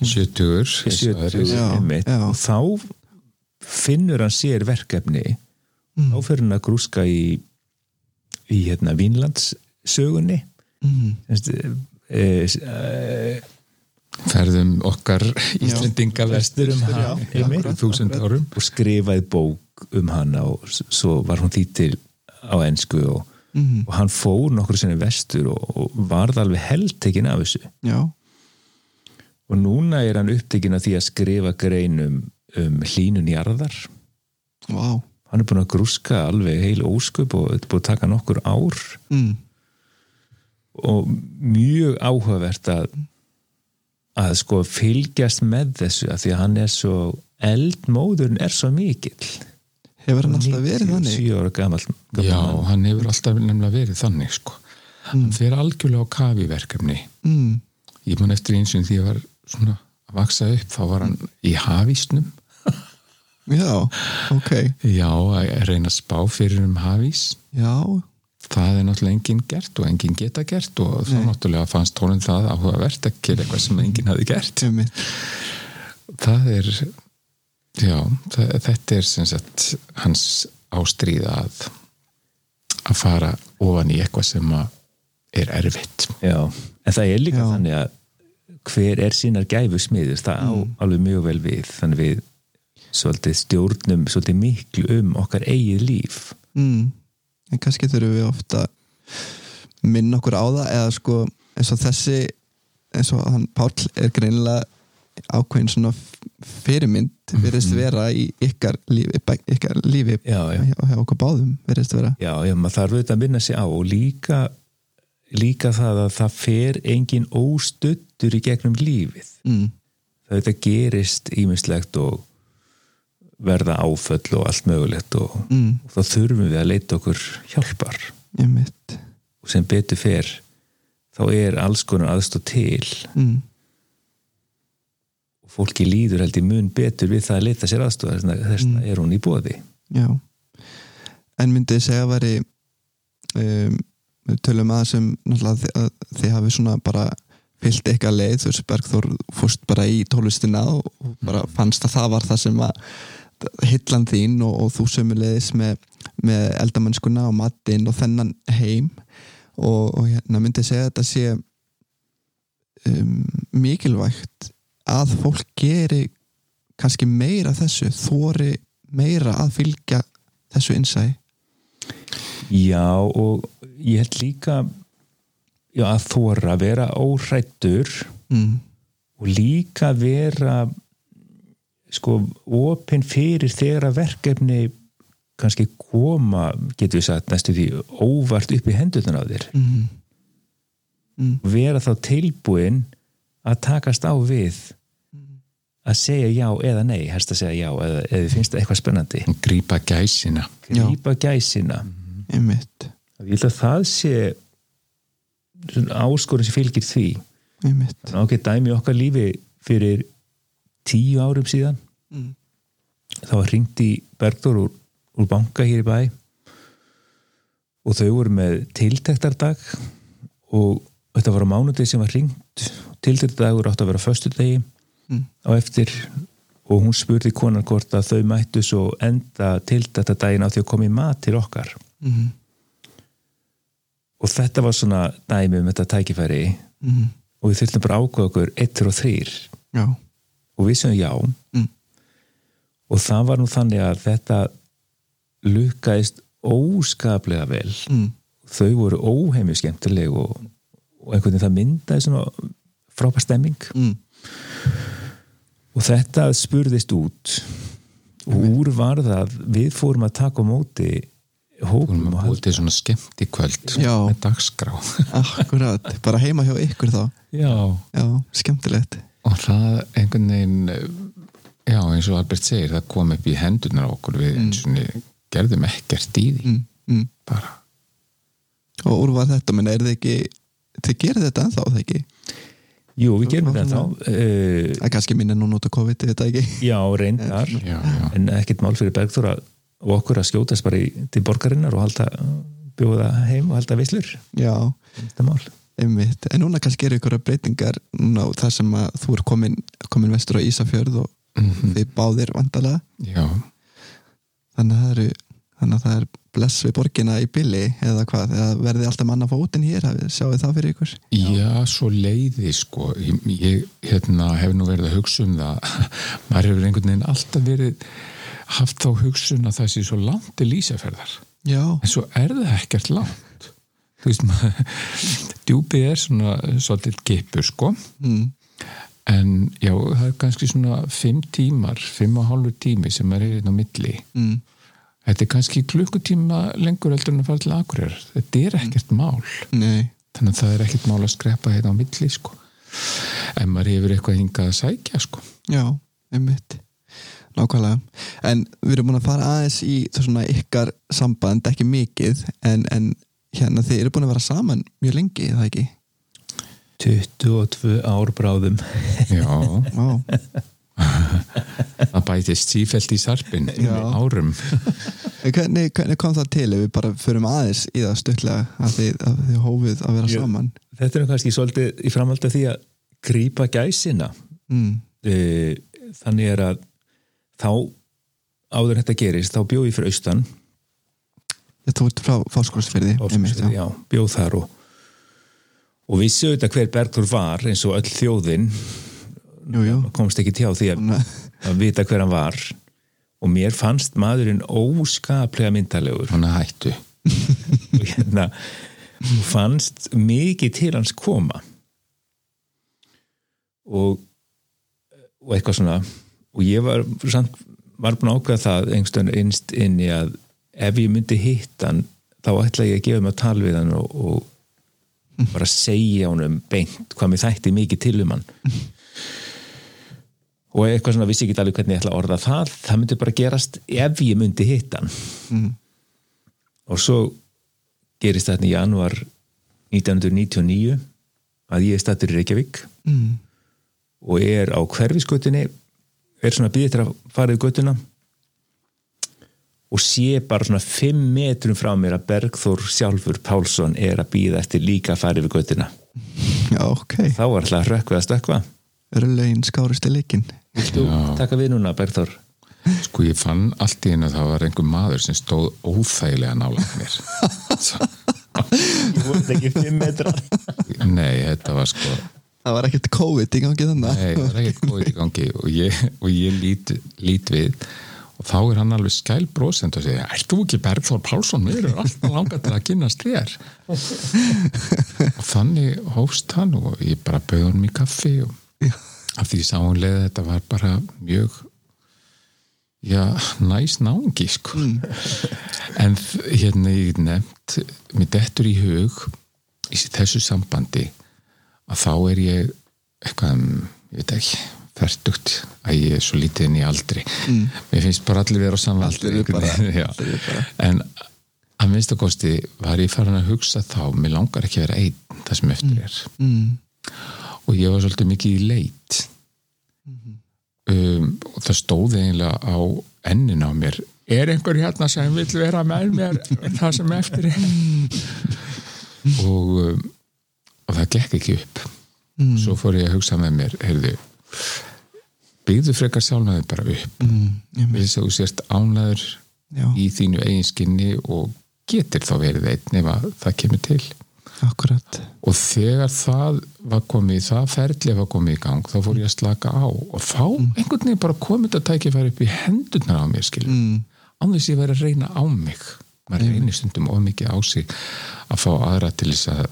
70 70 Já, einmitt. já. og þá finnur hann sér verkefni Mm. þá fyrir hann að grúska í í hérna Vínlands sögunni mm, eh, ferðum okkar Íslendinga vestur um Vestur, já, haf einmitt, akkurat, þúsund árum og skrifaði bók um hana og s- svo var hún þýttil á ensku og, mm, og hann fór nokkur sinni vestur og, og varð alveg heldtekinn af þessu já og núna er hann upptekinn af því að skrifa grein um, um hlínun jarðar vá hann er búin að grúska alveg heil ósköp og þetta er búin að taka nokkur ár mm, og mjög áhugavert að að sko fylgjast með þessu að því að hann er svo eldmóðurinn er svo mikill hefur hann alltaf verið þannig 7 ára gamall já, hann hefur alltaf nefnilega verið þannig sko. hann fer algjörlega á kafi verkefni mm, ég man eftir eins og því ég var svona að vaksa upp, þá var hann í hafísnum já, ok já, að reyna að spá fyrir um hafís já, það er náttúrulega enginn gert og enginn geta gert og þá náttúrulega fannst honum það áhugavert að gera eitthvað sem enginn hafi gert tjummi það er já, það, þetta er sem sagt hans ástríða að að fara ofan í eitthvað sem að er erfitt já, en það er líka Já. þannig að hver er sínar gæfu smiður það á Mm. alveg mjög vel við þannig við svolítið stjórnum svolítið miklu um okkar eigið líf mm. en kannski þurfum við ofta minna okkur á það eða sko eins og þessi eins og hann Páll er greinilega ákveðin svona f- fyrirmynd verðist vera í ykkar lífi, bæ- ykkar lífi Mhm. Já, já. hjá, hjá okkur báðum verðist vera já, já, maður þarf auðvitað að minna sig á og líka, líka það að það fer engin óstuttur í gegnum lífið mm. það auðvitað gerist ímislegt og verða áföll og allt mögulegt og, Mm. og þá þurfum við að leita okkur hjálpar ég mitt og sem betur fer þá er alls konar aðstóð til mm. og fólki líður held í mun betur við það að leita sér aðstóð þessna, þessna er hún í bóði já en myndið þið segja að veri um, við tölum að sem náttúrulega þi- að þið hafi svona bara fyllt eitthvað leið, þú veist Bergþór fórst bara í tólistina og og bara fannst að það var það sem að hillan þín og, og þú sömulegis með, með eldamennskuna og matinn og þennan heim og, og hérna myndi ég segja að þetta sé um, mikilvægt að fólk geri kannski meira af þessu þóri meira að fylgja þessu innsæ já og ég held líka já, að þóra vera óhrættur mm. og líka vera sko opinn fyrir þegar að verkefni kannski koma, getur við sagt næstu því óvart upp í hendurnar á þér Mm. vera þá tilbúin að takast á við að segja já eða nei helst að segja já eða, eða þið finnst eitthvað spennandi að grípa gæsina Já. grípa gæsina einmitt, ég held að það sé áskorun sem fylgir því einmitt ok, dæmi í okkar lífi fyrir tíu árum síðan Mm. þá var hringt í Bergdór úr, úr banka hér í bæ og þau voru með tiltektardag og þetta var á mánudegi sem var hringt tiltektardagur átti að vera á föstudegi Mm. á eftir og hún spurði konan hvort að þau mættu svo enda tiltektardaginn á því að koma í mat til okkar Mm. og þetta var svona dæmi um þetta tækifæri Mm. og við þurftum bara að ákveða okkur eittur og þrýr já, og við sem já Mm. og það var nú þannig að þetta lukkaðist óskaplega vel Mm. þau voru óheimju skemmtileg og, og einhvern veginn það myndaði svona frábær stemming mm. og þetta spurðist út og úr var það við fórum að taka á móti Hún hópum er og búið til svona skemmti kvöld Já. með dagskrá Akkurat, bara heima hjá ykkur þá [laughs] Já. Já, skemmtilegt og það einhvern veginn eh, já, eins og Albert segir, það kom upp í hendunar á okkur við eins og niður gerðum ekkert í því, mm. Mm. bara Og úr var þetta, menn er þið ekki Þið gerir þetta ennþá, það ekki jú við gerum þetta þá uh, Það er kannski minna nú nota COVID, þetta ekki já reyndar já, já. en ekkert mál fyrir Bergþóra og okkur að skjótast bara í, til borgarinnar og halda bjóða heim og halda vislur Já, þetta mál einmitt En núna kannski eru ykkur breytingar núna á þar sem að þú er komin, komin vestur á Ísafjörð og þið báðir vandalega Mhm. já, þannig að það eru þannig að það er bless við borgina í billi eða hvað, eða verði alltaf manna fótinn hér hafið, sjáu það fyrir ykkur Já, svo leiði sko ég, ég hérna, hef nú verið að hugsa um það [laughs] maður hefur einhvern veginn alltaf verið haft þá hugsun að það sé svo langt til lýsaferðar já, en svo er það ekkert langt þú veist maður djúpið er svona svolítið gipur sko mm, en já, það er kannski svona fimm tímar, fimm og hálfur tími sem maður er hérna á milli mm, þetta er kannski klukkutíma lengur eldur en að fara til Akureyrar, þetta er ekkert mál nei, þannig að það er ekkert mál að skrepa þetta á milli sko en maður hefur eitthvað hingað að sækja sko já, einmitt nákvæmlega, en við erum búin að fara aðeins í svona ykkar samband, ekki mikið en, en hérna þið eru búin að vera saman mjög lengi, er það ekki? 22 ár bráðum já, Vá, það bætist sífelt í sarpin Já. með árum En hvernig, hvernig kom það til ef við bara förum aðeins í það stuttlega að þið, að þið hófið að vera Ég- saman þetta er nú kannski svolítið í framhaldi af því að grípa gæsina mm, Eh, þannig er að þá áður en þetta gerist þá bjóð ég fyrir austan ég tók frá fáskólsfyrði Ásgrímsfirði, já, bjóð þar og, og vissi auðvitað hver Bergþór var eins og öll þjóðin jú, jú, komst ekki tjá því að, Hún- að vita hver hann var og mér fannst maðurinn óskaplega myndalegur hann er hættu [laughs] og hérna og fannst mikið til hans koma og og eitthvað svona og ég var samt var búin að ákveða það einhverstun innst inn í að ef ég myndi hitt hann þá ætla ég að gefa mig að tala við hann og, og bara segja honum beint hvað mér þætti mikið til um hann og eitthvað svona vissi ekki alveg hvernig ég ætla að orða það það myndi bara gerast ef ég myndi hitt hann og svo gerist þetta í januar 1999 að ég er stattur í Reykjavík mm, og er á hverfisgötunni er svona býðið til að fara í götuna og sé bara svona 5 metrum frá mér að Bergþór sjálfur Pálsson er að býða eftir líka að fara yfir götuna já, ok þá var alltaf að rökkvað að stökkva Örlögin skárist í leikin Viltu taka við núna Bergþór sko ég fann allt í einu að það var einhver maður sem stóð óþægilega nála mér Þú ert ekki 5 [laughs] metra nei, þetta var sko Það var ekkert COVID í gangi þannig nei, það er ekkert góðið í gangi og ég, og ég lít, lít við og þá er hann alveg skæl brosend og segir, ert þú ekki Bergþór Pálsson mér er alltaf langað til að kynast þér og þannig hófst hann og ég bara bauð hann í kaffi og af því sá hún leið að þetta var bara mjög já, næs náungi sko Mm. [laughs] en þ- hérna ég get nefnt mér dettur í hug í þessu sambandi að þá er ég eitthvað, um, ég veit ekki ferdugt að ég er svo lítið inn í aldri mér finnst bara allir vera á saman Mm. Allir aldri eru bara- einhvern veginn, já. allir eru bara. en að minnsta kosti var ég farin að hugsa þá mér langar ekki að vera einn það sem eftir er mm, og ég var svolítið mikið í leit um, og það stóði eiginlega á ennin á mér er einhver hérna sem vill vera með mér það sem eftir er og, um, og það gekk ekki upp mm, svo fór ég að hugsa með mér heyrðu, byggðu frekar sjálfnaði bara upp mm, ég með, þess að þú sért ánlaður já, í þínu eigin skinni og getur þá verið einn ef að það kemur til akkurat og þegar það var komið það ferli var komið í gang þá fór ég að slaka á og þá Mm. einhvern veginn bara komið þetta tækifæri upp í hendurnar á mér skilur mm, án þess ég væri að reyna á mig maður reynir stundum of mikið á sig að fá aðra til þess að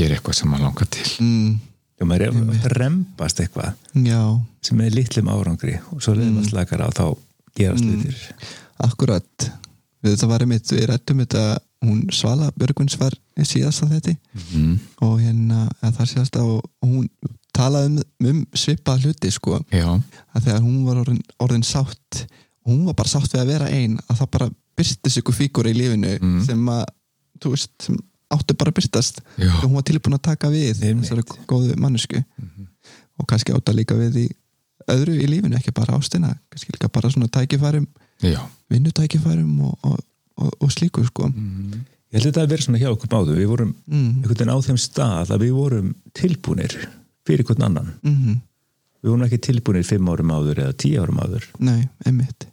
gera eitthvað sem maður langar til mm, og maður er að rembast eitthvað já, sem er litlum árangri og svo leðum Mm. að slakar á þá gerast hlutir akkurat við þetta varum mitt, við rættum þetta hún Svala Björgvins var síðast á þetta mm. og hérna eða þar síðast og hún talaði um, um svipað hluti sko já, að þegar hún var orðin, orðin sátt hún var bara sátt við að vera ein að það bara byrstist ykkur fígur í lífinu Mm. sem að, þú veist, sem áttu bara að byrstast já, og hún var tilbúin að taka við Einmitt. þessari góðu mannesku og kannski átta líka við í öðru í lífinu, ekki bara ástina kannski líka bara svona tækifærum já. vinnutækifærum og, og, og, og slíku sko Mm. ég held að þetta að vera svona hjá okkur báðu við vorum mm. einhvern veginn á þeim stað að við vorum tilbúnir fyrir hvern annan Mm. við vorum ekki tilbúnir fimm árum áður eða tíu árum áður Nei, einmitt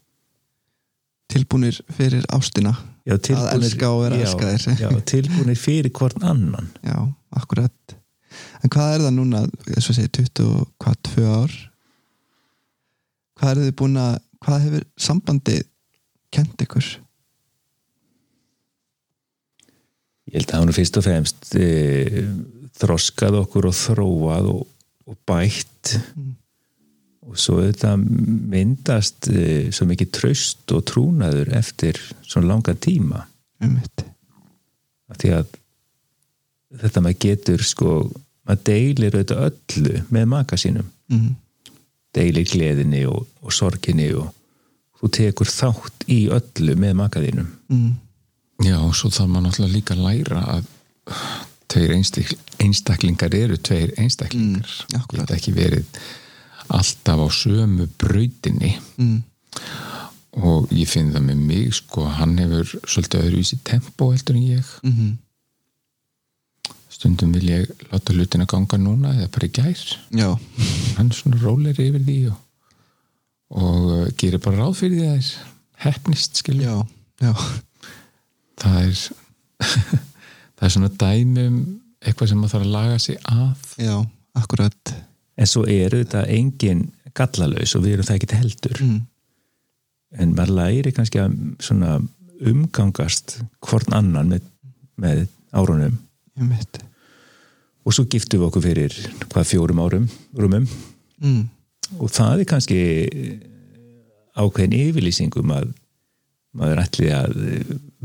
tilbúnir fyrir ástina já, tilbúnir, elska og vera elskaðir. já, já, tilbúnir fyrir hvern annan já, akkurat en hvað er það núna, þess að segja 20 og hvað, 2 ár hvað er þið búin að hvað hefur sambandi kent ykkur ég held að hann er fyrst og fremst e, þroskað okkur og þróað og, og bætt Mm. og svo þetta myndast e, svo mikið traust og trúnaður eftir svona langan tíma einmitt af því að þetta maður getur sko maður deilir auðvitað öllu með maka sínum mm. deilir gleðinni og, og sorginni og þú tekur þátt í öllu með maka þínum Mm. já, og svo þarf maður náttúrulega líka að læra að tveir einstak- einstaklingar eru tveir einstaklingar Mm, akkurat. geta ekki verið alltaf á sömu brautinni Mm. og ég finn það með mig sko, hann hefur svolítið öðruvísi tempo heldur en ég Mm stundum vil ég láta hlutina ganga núna eða bara í gær já, hann er svona róleri yfir því og, og uh, gerir bara ráð fyrir því að þær hefnist skilja já, já það er [laughs] það er svona dæmi um eitthvað sem maður þarf að laga sig að já, akkurat en svo eru þetta engin gallalaus og við erum það ekki heldur mm. en maður læri kannski að svona umgangast hvorn annan með, með árunum einmitt og svo giftum við okkur fyrir hvað fjórum árum rúmum mm. og það er kannski ákveðin yfirlýsingum að maður ætli að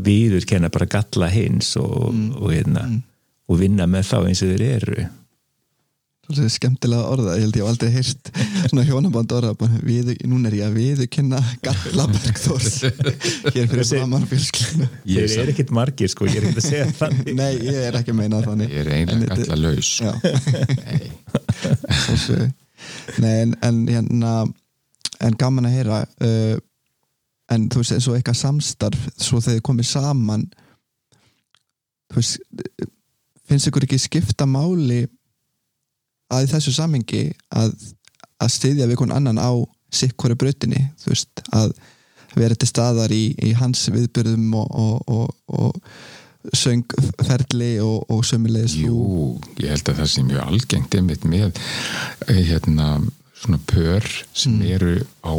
viður kenna bara galla hins og, og, hérna, og vinna með þá eins og þeir eru Svolítið skemmtilega orða, ég held ég hef aldrei heyrt svona hjónaband orða, bara, við, núna er ég að viðurkenna Galla Bergþórs [laughs] hér fyrir Þessi- saman fjölskyldinu. Ég er þeir eru ekkit margir sko, ég er ekkit að segja þannig [laughs] Nei, ég er ekki að meina það þannig. ég er eiginlega sko. En þetta- galla laus Já. Sjálfsögðu. Nei, en, en hérna, en gaman að heyra, uh, en þú veist, eins og eitthvað samstarf, svo þegar þið komið saman, þú veist, finnst ykkur ekki skipta máli að í þessu samhengi að, að styðja við kon annan á sikkori brautinni þú veist, að vera til staðar í, í hans viðbyrðum og, og, og, og söngferli og, og sömulegis Jú, ég held að það sé mjög algengt einmitt með eh, hérna, svona pör sem Mm. eru á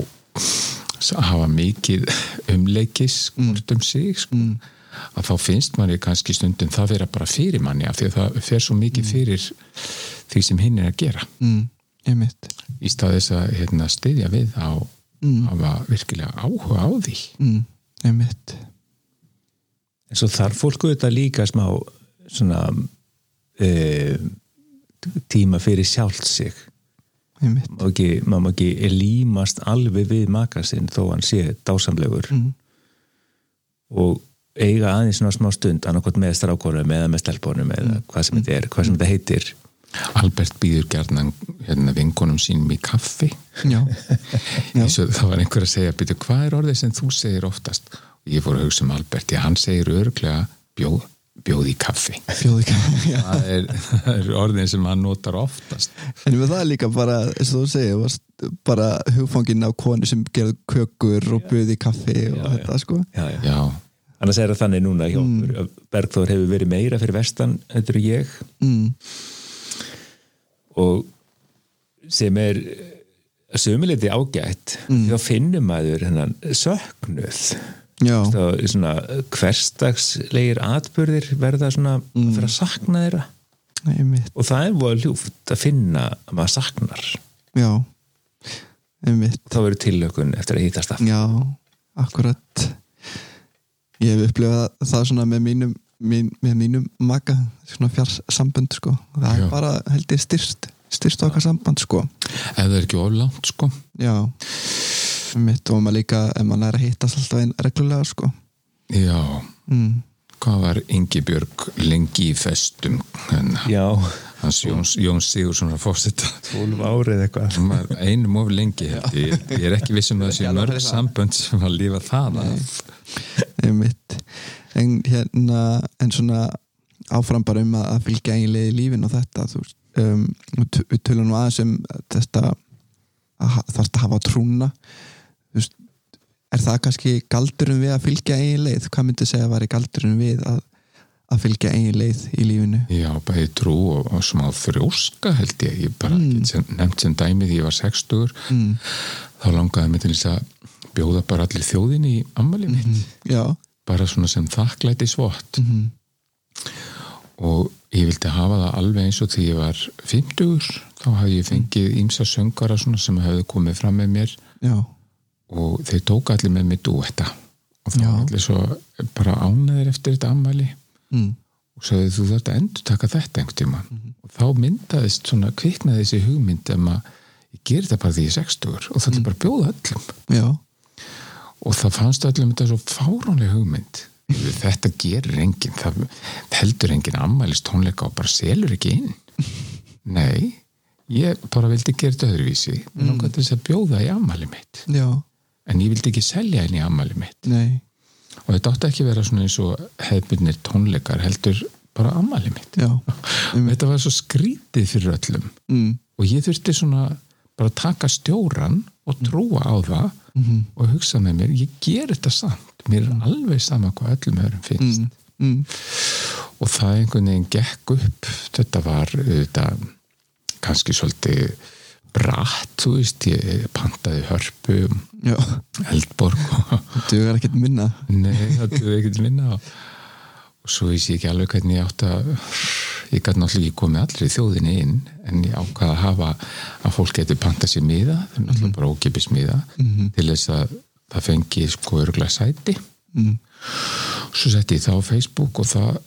hafa mikið umleikis hvort um sig sko. Mm. að þá finnst manni kannski stundum það vera bara fyrir manni af því að það fer svo mikið fyrir því sem hinn er að gera mm, einmitt í stað þess að hérna, styðja við á Mm. hafa virkilega áhuga á því mm, einmitt en svo þarf fólk auðvitað líka smá svona e, tíma fyrir sjálft sig einmitt Má ekki- maður má ekki límast alveg við maka sinn þó hann sé dásamlegur mm, og eiga aðeins svona smá stund annarkot með strákonum eða með stelpunum eða hvað sem þetta er, hvað sem þetta heitir Albert býður gerðan hérna, vinkonum sínum í kaffi [laughs] já, Já. eins og það var einhver að segja byrju, hvað er orðið sem þú segir oftast og ég fór að hugsa um Albert, já hann segir örglega bjóð, bjóð í kaffi bjóðu ekki [laughs] já. það er, það er orðin sem hann notar oftast en með það er líka bara, eins og þú segir varst bara hugfanginn af konu sem gerði kökur og bjöði kaffi og þetta sko já, já. já, annars er það þannig núna hjá okkur að Bergþór hefur verið meira fyrir vestan þetta er ég mm, og sem er eh, Mm. sömuleiti ágætt þá finnum maður hennan söknuð já, Þá er svona hverstagslegir atbyrðir verða svona Mm. að fyrir að sakna þeirra einmitt og það er voða ljúft að finna að maður saknar já, einmitt þá verður tilökun eftir að hýtast af já, akkurat ég hef upplifað það svona með mínum mín, með mínum maka svona fjarsambönd sko, það Já. er bara held ég styrst, styrst okkar samband sko ef það er ekki oflámt sko já mitt og maður líka, ef maður er að hittast alltaf einn reglulega sko já, mm. hvað var Ingi Björg lengi í festum Mm. hennar, já, hans Jóns, Jóns Sigursson að fórseta 12 árið eitthvað hún var einum of lengi held ég, ég er ekki viss um að það sé Já, það mörg er það. sambönd sem að lífa það af. einmitt en hérna, en svona áfram bara um að, að fylgja eiginlega í lífin og þetta, þú veist um, við t- við tölum nú aðeins um þetta að ha- þarfst að hafa trúna þú veist, er það kannski galdurinn við að fylgja eiginlega hvað myndi segja að væri galdurinn við að, að fylgja eiginlega í lífinu Já, bæði trú og, og smá þrjóska held ég, ég bara mm. sem, nefnt sem dæmi því ég var 60 Mm. þá langaði mig til þess að bjóða bara allir þjóðinni í ammali mitt já, bara svona sem þakklæti svott mm, og ég vildi hafa það alveg eins og því ég var 50 þá hafði ég fengið ímsa söngara svona sem hafði komið fram með mér já, og þeir tók allir með mér duetta og þá Já. var allir svo bara ánæðir eftir þetta ammali mm, og sagði þú þarft að endur taka þetta einhvern tíma og þá myndaðist svona kviknaði þessi hugmynd um að ég ger þetta bara því ég er 60 og það er bara að bjóða öllum já og það fannst öllum þetta svo fáránlega hugmynd þetta gerir enginn það heldur enginn ammælist tónleika og bara selur ekki inn nei, ég bara vildi gera þetta öðruvísi, mm. langaði til þess að bjóða í ammæli mitt, já, en ég vildi ekki selja inn í ammæli mitt nei og þetta átti ekki að vera svona eins og hefðbunir tónleikar heldur bara ammæli mitt já, og þetta var svo skrítið fyrir öllum mm, og ég þurfti svona bara að taka stjóran og trúa á það og hugsa með mér, ég ger þetta samt mér er alveg sama hvað öllum öðrum finnst mm, og það einhvern veginn gekk upp þetta var þetta, kannski svolítið bratt, þú veist, ég pantaði hörpu, já eldborg og dugar ekkert minna Nei, það duði ekkert minna og og svo vissi ég ekki alveg hvernig ég átt að ég gæti náttúrulega ekki komið allri þjóðinni inn en ég ákvaði að hafa að fólk getur panta sér miða það er náttúrulega bara ókipis miða til þess að það fengi sko örgulega sæti mm, svo setti ég það á Facebook og það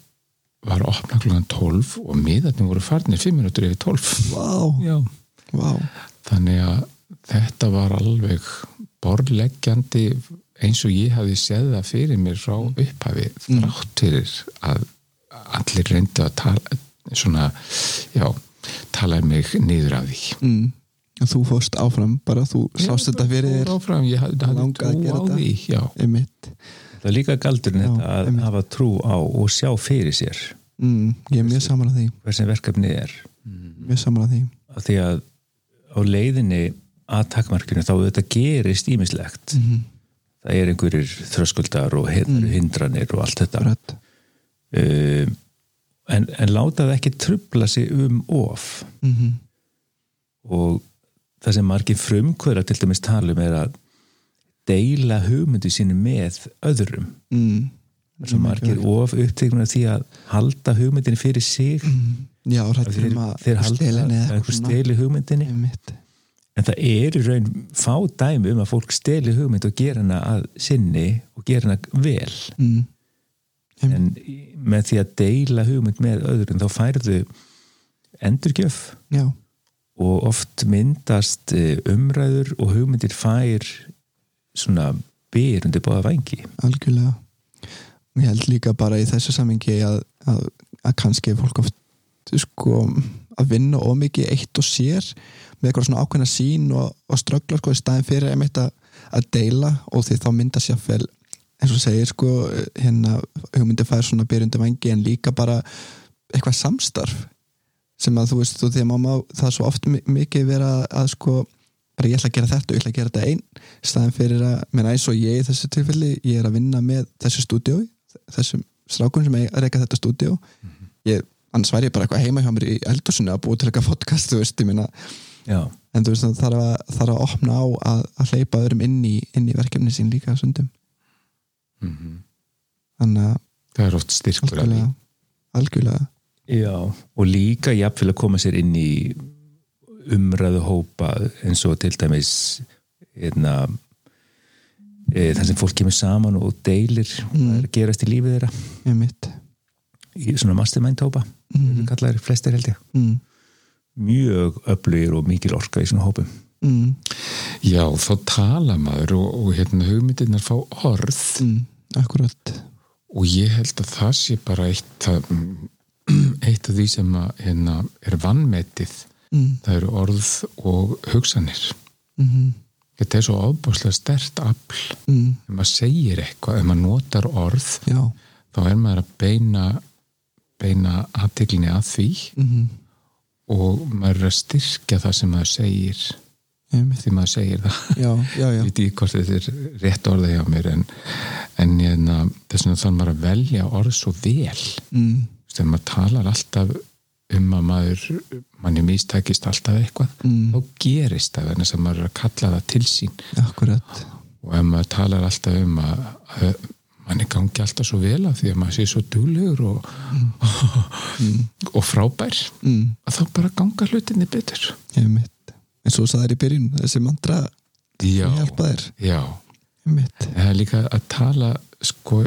var opna klugan 12 og miðarnir voru farnir 5 minútur yfir 12 vá, Já. vá þannig að þetta var alveg borðleggjandi eins og ég hafi séð það fyrir mér frá Mm. upphafi þrátt fyrir að allir reyndu að tala svona, já, tala mig niður af því mm. En þú fórst áfram bara þú sást þetta fyrir Ég þér fór áfram, ég hafði hafði Langaði að trú gera á þetta. því já, einmitt það er líka galdurinn Já, þetta að einmitt. hafa trú á og sjá fyrir sér mm. ég er mjög saman að því hver sem verkefni er Mhm. mjög saman að því að því að á leiðinni að takkmarkinu þá þetta gerist Mm. ímislegt Mhm. það er einhverjir þröskuldar og hin- hindranir og allt þetta Brett. um, en, en láta það ekki trubla sig um of Mm og það sem margir frumkvöra til dæmis talum er að deila hugmyndu sínu með öðrum mm. Það er svo margir of uppteknum af því að halda hugmyndinni fyrir sig já, að rættur þeir, um að þeir halda Mm, stela henni að eða einhver eitthvað svona. Mm. steli hugmyndinni einmitt en það er í raun fá dæmi um að fólk steli hugmynd og gera hana að sinni og gera hana vel mm. en í- með því að deila hugmynd með öðrum þá færðu endurgjöf já, og oft myndast eh, umræður og hugmyndir fær svona byr undir báða vængi algjörlega og ég held líka bara í þessu samingi að, að, að kannski er fólk oft sko, að vinna ómikið eitt og sér með eitthvað svona ákveðna sín og, og ströggla sko, í staðin fyrir einmitt að, að deila og því þá mynda sér fel eins og þú segir sko hérna hugmyndi fær svona byrjundu vangi en líka bara eitthvað samstarf sem að þú veist þú því að mamma það er svo oft mi- mikið vera að, að sko bara ég ætla að gera þetta og ég ætla að gera þetta einn staðan fyrir að, menn eins og ég í þessu tilfelli ég er að vinna með þessu stúdíó þessum strákum sem eiga- reka þetta stúdíó ég, annars væri ég bara eitthvað heima hjá mér í eldhúsinu að búa til eitthvað podcast þú veist, ég minna, já, en þú veist það þarf að, þarf að opna á að, að hleypa öðrum inn í, inn í verkefni sín líka sundum þannig að það er oft styrkur að því Mhm. algjörlega, algjörlega Já, og líka jafnvel að koma sér inn í umræðu hópa eins og til dæmis hérna e, þann sem fólk kemur saman og deilir hvað er að gerast í lífið þeirra með mitt í svona mastermind hópa mm. kallar flestir held ég mm. mjög öflugir og mikil orka í svona hópum Mm. já, þá tala maður og, og hérna, hugmyndirnar fá orð Mm. akkurat og ég held að það sé bara eitt að, eitt af því sem að, hérna, er vannmetið mm. það eru orð og hugsanir Mm þetta er svo ábúslega stert afl mm. ef maður segir eitthvað, ef maður notar orð já þá er maður að beina beina aðteglinni að því mm -hmm. og maður er að styrkja það sem maður segir því maður segir það [laughs] já, já, já ég veit ekki hvort þetta er rétt orða hjá mér en, en hérna, þess vegna þannig maður að velja orð svo vel mm. þegar maður talar alltaf um að maður manni mistækist alltaf eitthvað Mm. þá gerist það vegna sem maður er að kalla það til sín akkurat og ef maður talar alltaf um að, að manni gangi alltaf svo vel af því að maður sé svo duglegur og, og, og frábær mm. að þá bara ganga hlutinni betur með mitt eins og þú sagðir í byrjun, þessi mantra já, hjálpa þér já með mitt það er líka að tala sko,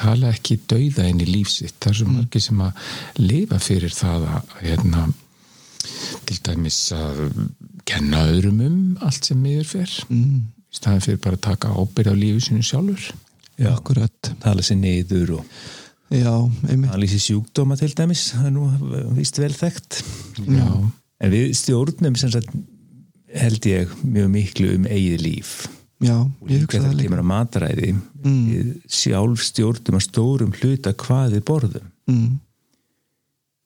tala ekki dauða inn í lífsitt það er Mm. svo margir sem að lifa fyrir það að hérna, til dæmis að kenna öðrum um allt sem miður fer mm. í staðan fyrir bara að taka ábyrð á lífi sinu sjálfur akkurat tala sér niður og já, með mitt analýsi sjúkdóma til dæmis það er nú vist vel þekkt já, en við stjórnum sem sagt held ég mjög miklu um eigið líf já, og ég líka hugsa það þegar líka Mm. kemur að mataræði við sjálf stjórnum að stórum hluta hvað við borðum mm.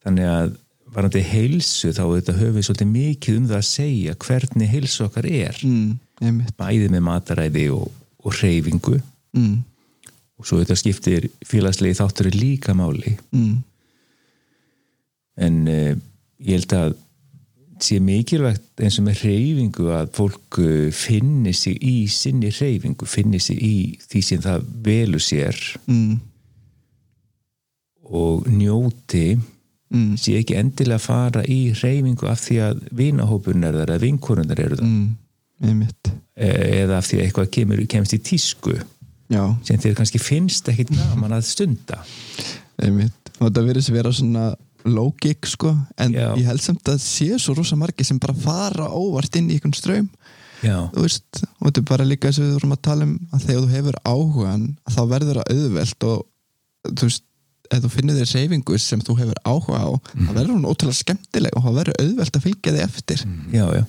þannig að varandi heilsu þá þetta höfum við svolítið mikið um það að segja hvernig heilsu okkar er Mm. með mitt bæði með mataræði og, og reyfingu mm. og svo þetta skiptir félagslegi þáttur líka máli Mm. en uh, ég held að sé mikilvægt eins og með reyfingu að fólk eh, finni sig í sinni reyfingu, finni sig í því sem það velur sér Mm. og njóti Mm. sé ekki endilega að fara í reyfingu af því að vinahópurinn er þar eða vinkonunar eru þar Mm. með mitt eh, eða af því að eitthvað kemur, kemst í tísku já, sem þér kannski finnst ekkit gaman að stunda einmitt og þetta verður sem vera svona lógik sko, en Já. ég held samt að sé svo rosa margi sem bara fara óvart inn í einhvern ströym Já, þú veist, og þetta er bara líka þess að við vorum að tala um að þegar þú hefur áhugan að þá verður það auðvelt og þú veist, ef þú finnir þér seyfingu sem þú hefur áhuga á, Mhm. þá verður hún ótrúlega skemmtileg og þá verður auðvelt að fylgja þig eftir já, já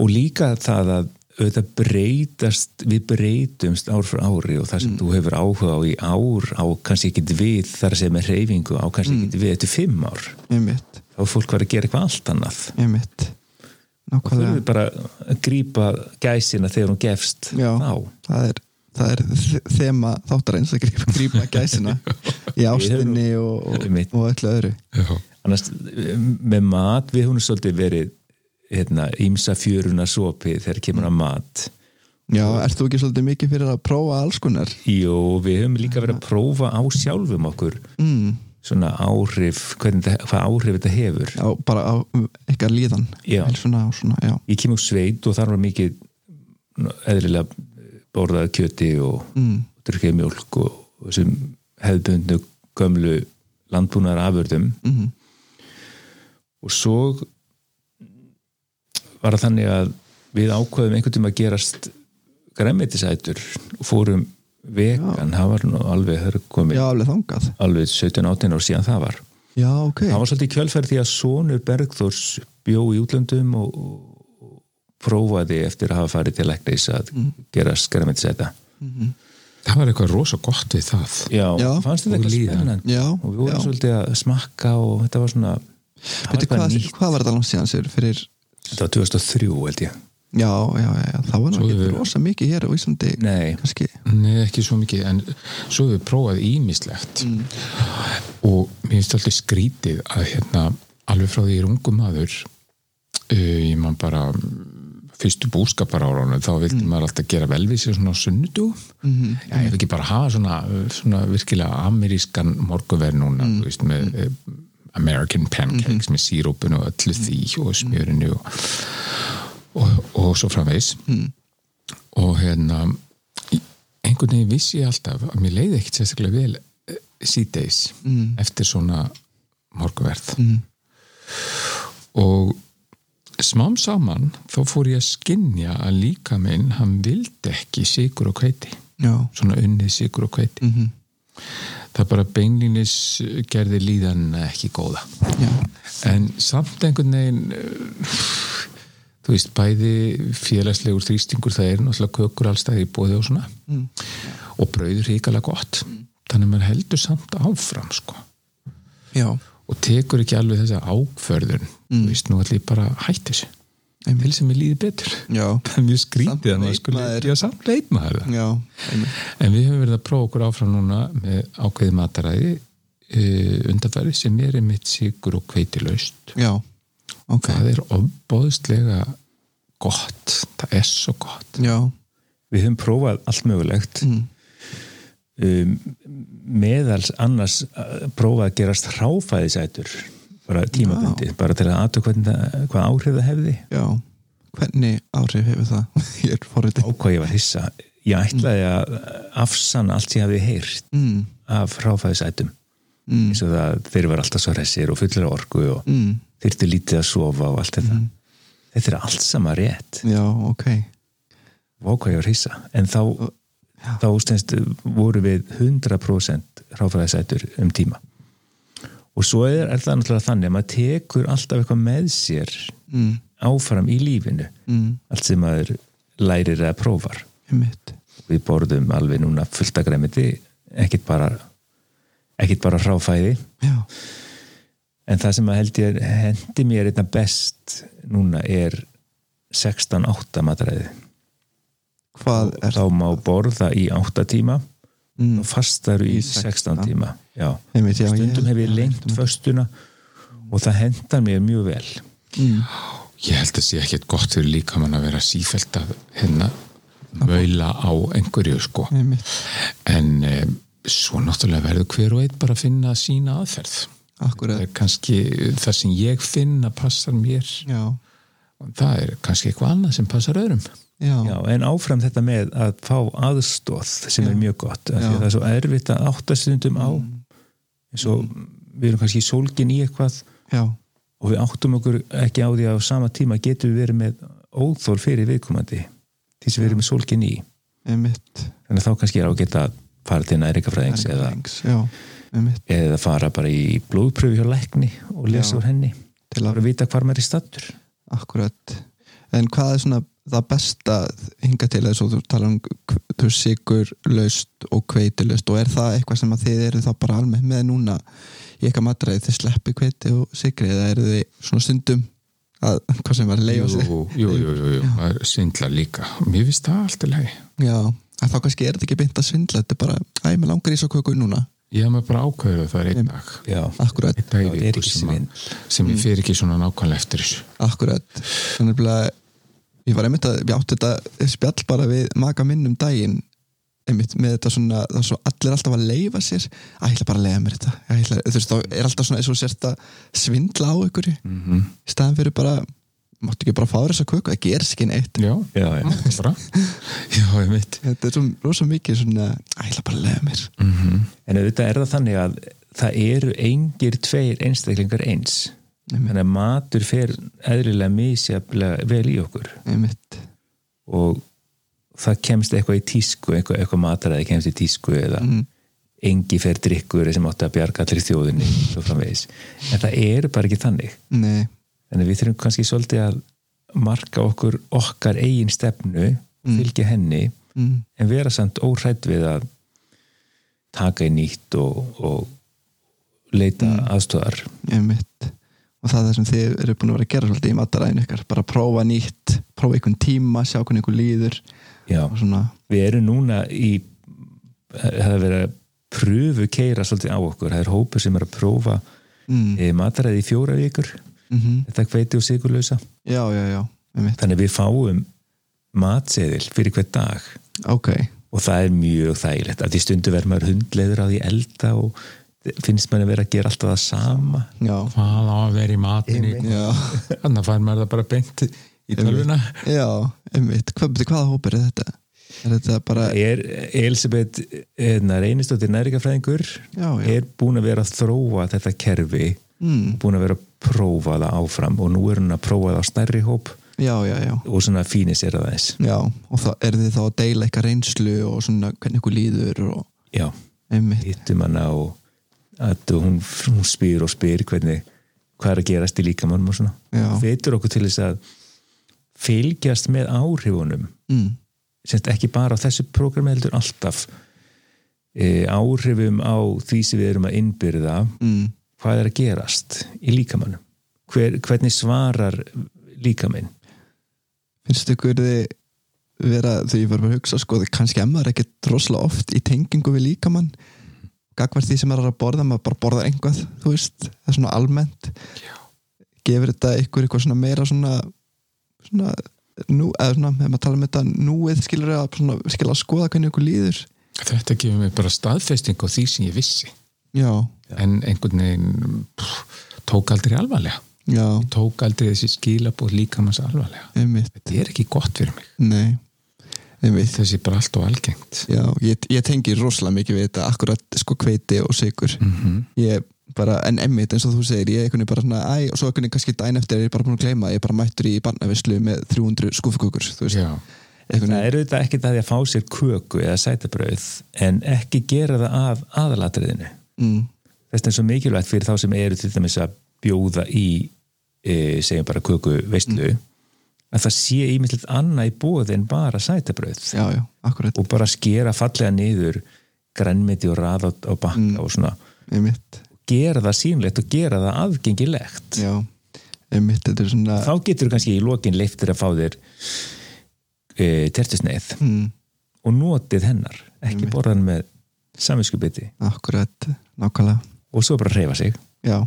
og líka það að auðvitað breytast, við breytumst ár frá ári og það sem þú hefur áhuga á í ár á kannski ekkit við þar sem er reyfingu á kannski ekkit við eftir fimm ár einmitt, þá er fólk var að gera eitthvað allt annað einmitt þú eru nákvæmlega, bara að grípa gæsina þegar hún gefst Já. þá það er það er þ- þema þáttarins að grípa, grípa [laughs] gæsina í ástinni og, og, Einmitt. og öllu öðru já, annars með mat við hún er svolítið verið hérna, ímsa fjöruna sopi þegar kemur að mat já, ert þú ekki svolítið mikið fyrir að prófa alls konar Jó, við höfum líka verið að prófa á sjálfum okkur mm, svona áhrif, hvernig, þetta- hvað áhrif þetta hefur á, bara á ykkar líðan Já. svona, svona, já, ég kem úr sveit og þar var mikið nú, eðlilega borðað kjöti og mm, drukkið mjólk og, og sem hefðbundu gömlu landbúnaðar afurðum mm, og svo var það þannig að við ákveðum einhvern tíma að gerast græmitisætur og fórum vegan, það var nú alveg það er komið já, alveg þangað alveg 17-18 ár síðan það var Já, ok. það var svolítið kjölferð því að Sónur Bergþórs bjó í útlöndum og, og prófaði eftir að hafa farið til læknis að gera skræmitisæta það var eitthvað rosa gott við það já, Já. fannst þetta Og eitthvað líðan. spennandi Já, og við vorum já. svolítið að smakka og þetta var svona það var Veitu, eitthvað hvað, nýtt. hvað var þetta langt síðan sér fyrir... þetta var 2003 held ég Já, já, já, já, það var Svo náttúrulega við- við... rosa mikið hér á Íslandi. Nei. Kannski. Nei, ekki svo mikið, en svo hefur við prófað ímislegt og mér finnst alltaf skrítið að hérna, alveg frá því ég er ungu maður uh, ég man eh, bara mm, fyrstu búskaparárunum þá vildi maður alltaf gera vel við sér svona á sunnudugum Mhm. mm. já, ég vil ekki bara hafa svona, svona virkilega amerískan morgunverð núna þú veist, með eh, American pancakes með sírópun og öllu því og smjörinu og, og, og svo framvegis og hérna í- einhvern veginn vissi ég alltaf að mér leiði ekkit sérstaklega vel eh, síðdeis eftir svona morgunverð og smám saman þá fór ég að skinja að líka minn hann vildi ekki sigur og kveiti já, svona unnið sigur og kveiti Mhm. það bara beinlínis eh, gerði líðan ekki góða já, en samt einhvern veginn eh, þú veist, bæði félagslegur þrýstingur það er náttúrulega kökur allstæði í bóði og svona Mm. og brauður ríkala gott þannig að maður heldur samt áfram sko já, og tekur ekki alveg þessa ákförðun þú veist, nú ætlum ég bara að hætti þessu Mm. Einmitt. til sem ég líði betur já, það er mjög Samt skrítið að maður veit skulle maður. já, samt veit maður það já, einmitt. en við höfum verið að prófa okkur áfram núna með ákveði mataræði uh, undanfæri sem er einmitt sigur og kveitilaust já, ok, það er ofbóðslega gott, það er svo gott já, við höfum prófað allt mögulegt Mm. um, meðals annars uh, prófað að gerast hráfæðisætur bara tímabundi, bara til að aðtöku hvað áhrif það hefði já, hvernig áhrif hefur það? [laughs] ég er forrið á hvað ég var hissa ég ætlaði að afsanna allt sem ég hafði heyrt mm, af hráfæðisætum mm, eins og það þeir var alltaf svo hressir og fullir af orku og mm, þyrftu lítið að sofa og allt þetta þetta er allt sama rétt já, ok, og hvað ég var hissa en þá, þá stendst, voru við 100% hráfæðisætur um tíma og svo er, er það náttúrulega þannig að maður tekur alltaf eitthvað með sér mm, áfram í lífinu mm, allt sem maður lærir að prófar einmitt, við borðum alveg núna fullt að græmiti ekkit bara ekkit bara hráfæði já, en það sem að held ég hendi mér einna best núna er 16-8 matræði hvað er þá má borða í 8 tíma mm, og fastaru í Í 16 16 tíma já. einmitt, já, ég- stundum hef ég lengt föstuna og það hendar mér mjög vel mm, ég held að sé ekkert gott fyrir líkamann að vera sífælt að hérna möila á einhverju sko einmitt, en um, svo náttúrulega verður hver og einn bara að finna sína aðferð það akkurat, er kannski það sem ég finn að passar mér já, það er kannski eitthvað annað sem passar öðrum já, já, en áfram þetta með að fá aðstóð sem er mjög gott af því Já. Mm. að það er svo erfitt að átta stundum á eins og við erum kannski sólgin í eitthvað já, og við áttum okkur ekki á því að á sama tíma getum við verið með óþól fyrir viðkomandi því sem við erum með sólgin í einmitt, þannig að þá kannski er ágætt að fara til nærikafræðings eða, Erfðafræðings, já, einmitt, eða fara bara í blóðpröfu hjá lækni og lesa Já. úr henni Til að- bara vita hvar maður er stattur akkurat, en hvað er svona það besta hinga til þess og þú tala um k- þú sigur laust og kveitulaust og er það eitthvað sem að þið eru þá bara almennt með núna í eitthvað matræði þið sleppi kveiti og sigri eða eru þið svona stundum að hvað sem var að leiða sig jú, jú, jú, jú, jú. maður svindlar líka mér finnst það allt í lagi já, að þá kannski er þetta ekki beint að svindla þetta er bara, æ, mér langar í svo köku núna ég hef maður bara ákveður að það er einn dag já, akkurat, einn dag Já, það í er viku ekki Mm. sem, að- svindl. sem ég fer ekki svona nákvæmlega eftir þessu akkurat þannig að ég var einmitt að ég átti þetta spjall bara við maka minn um daginn einmitt með þetta svona það er svo allir alltaf að leifa sér að ég ætla bara að leifa mér þetta Æ, ég ætla, þú veist þá er alltaf svona eins og þú sért að svindla á ykkur mm -hmm. í staðan fyrir bara máttu ekki bara fá þér þessa köku það gerst ekki neitt já, já, já. bara já, ég mitt þetta er svo rosa mikið svona að ég ætla bara að leifa mér en auðvitað er það þannig að það eru engir tveir einstaklingar eins þannig að matur fer eðlilega misjaflega vel í okkur einmitt og það kemst eitthvað í tísku eitthvað, eitthvað mataræði kemst í tísku eða Mm. engi fer drikkur sem átti að bjarga allir þjóðinni svo framvegis, en það er bara ekki þannig nei, en við þurfum kannski svolítið að marka okkur okkar eigin stefnu fylgja henni Mm. en vera samt óhrætt við að taka í nýtt og, og leita aðstöðar einmitt og það er það sem þið eru búin að vera að gera svolítið í mataræðinu ykkar bara prófa nýtt, prófa einhvern tíma sjá hvernig ykkur líður Já. og svona, við erum núna í það er verið að pröfu keira svolítið á okkur, það er hópur sem er að prófa mm. mataræði í fjóra vikur mm, mhm þetta kveiti og sigurlausa Já, já, já, einmitt. þannig við fáum matseðil fyrir hver dag ok, og það er mjög þægilegt að því stundu verður maður hundleður á því elda og finnst maður að vera að gera alltaf það sama já hvað á að vera í matinu já, [laughs] þannig að fær maður það bara beint í tölvuna já, einmitt hvað, betur, hvaða hópur er þetta? er þetta bara, er Elisabeth reynistóttir næringafræðingur Já, já. er búin að vera að þróa þetta kerfi mm. búin að vera að prófa það áfram og nú er hún að prófa það á stærri hóp já, já, já og svona fínir sér að þess já, og þá er þið þá að deila eitthvað reynslu og svona hvernig ykkur líður og já, einmitt, hittum hana og að hún, hún spyr og spyr hvernig, hvað er að gerast í líkamannum og Já. svona veitur okkur til þess að fylgjast með áhrifunum mm. semst ekki bara á þessu programmi heldur alltaf e, áhrifum á því sem við erum að innbyrða Mm. hvað er að gerast í líkamannum Hver, hvernig svarar líkaminn finnst ykkur þið vera, því ég var bara að hugsa sko, þið kannski emma er ekkert droslega oft í tengingu við líkamann gagvart því sem maður er að borða, maður bara borðar einhvað þú veist, það er svona almennt gefur þetta ykkur eitthvað svona meira svona, svona nú, eða svona, ef maður tala um þetta núið skilur að, svona, skilur að skoða hvernig ykkur líður þetta gefur mér bara staðfesting á því sem ég vissi já, en einhvern veginn pff, tók aldrei alvarlega já, tók aldrei þessi skilabóð líkamans alvarlega einmitt þetta er ekki gott fyrir mig nei, einmitt þessi er bara allt og algengt Já, ég, ég tengi rosalega mikið við þetta akkurat sko kveiti og sigur Mhm. ég bara, en emmitt eins og þú segir ég er einhvernig bara svona, æ, og svo einhvernig kannski dæn eftir er ég bara búin að gleyma, ég er bara mættur í barnavislu með 300 skúfukukur, þú veist já, það er auðvitað ekkert að því að fá sér köku eða sætabrauð en ekki gera það að aðalatriðinu mm, þess vegna er svo mikilvægt fyrir þá sem eru til dæmis að bjóða í e, segjum bara köku veistlu að það sé ímyndilegt annað í bóð en bara sætabrauð já, já, akkurat og bara skera fallega niður grænmeti og raða á bakka og svona einmitt, gera það sínlegt og gera það aðgengilegt já, einmitt þetta er svona, þá getur kannski í lokin leiftir að fá þér e, tertusneið mm, og notið hennar ekki borðan með samvinskubiti akkurat nákvæmlega, og svo bara reyfa sig já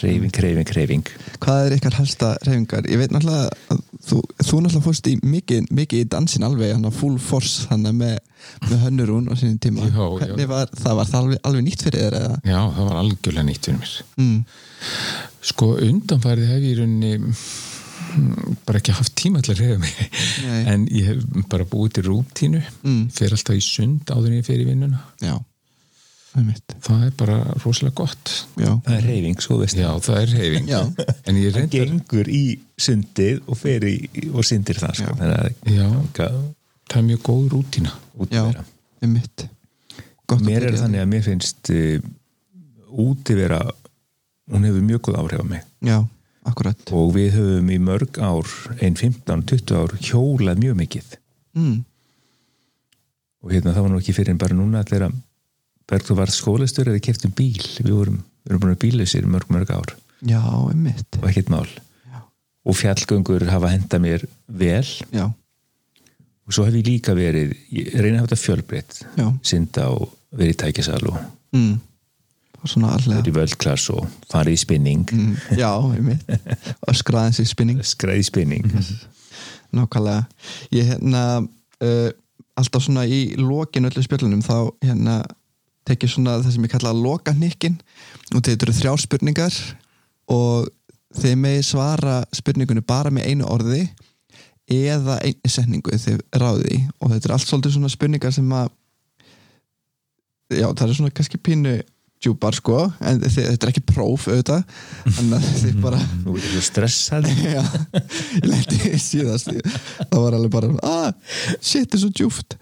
reyfing, reyfing, reyfing hvað er ykkar helsta reyfingar? Ég veit náttúrulega að þú, þú náttúrulega fórst í mikið, mikið í dansin alveg, hann að full force hann að með, með hönnurún á sínum tíma Já, já. Hvernig var, það var það alveg, alveg nýtt fyrir þér eða? já, það var algjörlega nýtt fyrir mér Mm, sko undanfærið hef ég í rauninni mm, bara ekki haft tíma til að reyða mig Nei. en ég hef bara búið til rútínu Mm. fer alltaf í sund áður en ég fer í vinnuna já, það er mitt það er bara rosalega gott Já, það er reyfing, svo veist já, það er reyfing Já. en ég reyndar gengur í sundið og fer í og syndir það sko. þannig já, að það er mjög góð rútína út já, meira það er mitt Gott mér byrja á er því. þannig að mér finnst uh, útivera hún hefur mjög góð áhrif á mig Já, akkurat og við höfum í mörg ár ein 15-20 ár hjólað mjög mikið mm, og hérna það var nú ekki fyrir en bara núna þegar Bergþór var skólastur eða keftum bíl, við vorum, við vorum búin að bíla sér mörg mörg ár Já, einmitt og ekkert mál Já. og fjallgöngur hafa henda mér vel Já, og svo hef ég líka verið, ég reyna að hafa þetta fjölbreytt já, synda og verið í tækisal og mm, það var svona allega verið í völdklass og farið í spinning mm, Já, einmitt Öskraðins í spinning skræði spinning Nákvæmlega. Ég hérna uh, alltaf svona í lokin öllu spjöllunum þá hérna tek ég svona það sem ég kalla loka hnikkin og þetta eru þrjá spurningar og þið með svara spurningunni bara með einu orði eða einu setningu þið ráði í. og þetta eru allt svolítið svona spurningar sem að já það eru svona kannski pínu djúpar sko en þið, þetta er ekki próf auðvitað þannig að þið bara Nú er þetta stressað [laughs] Já, ég lendi í síðast það var alveg bara ah, shit, þetta er svo djúft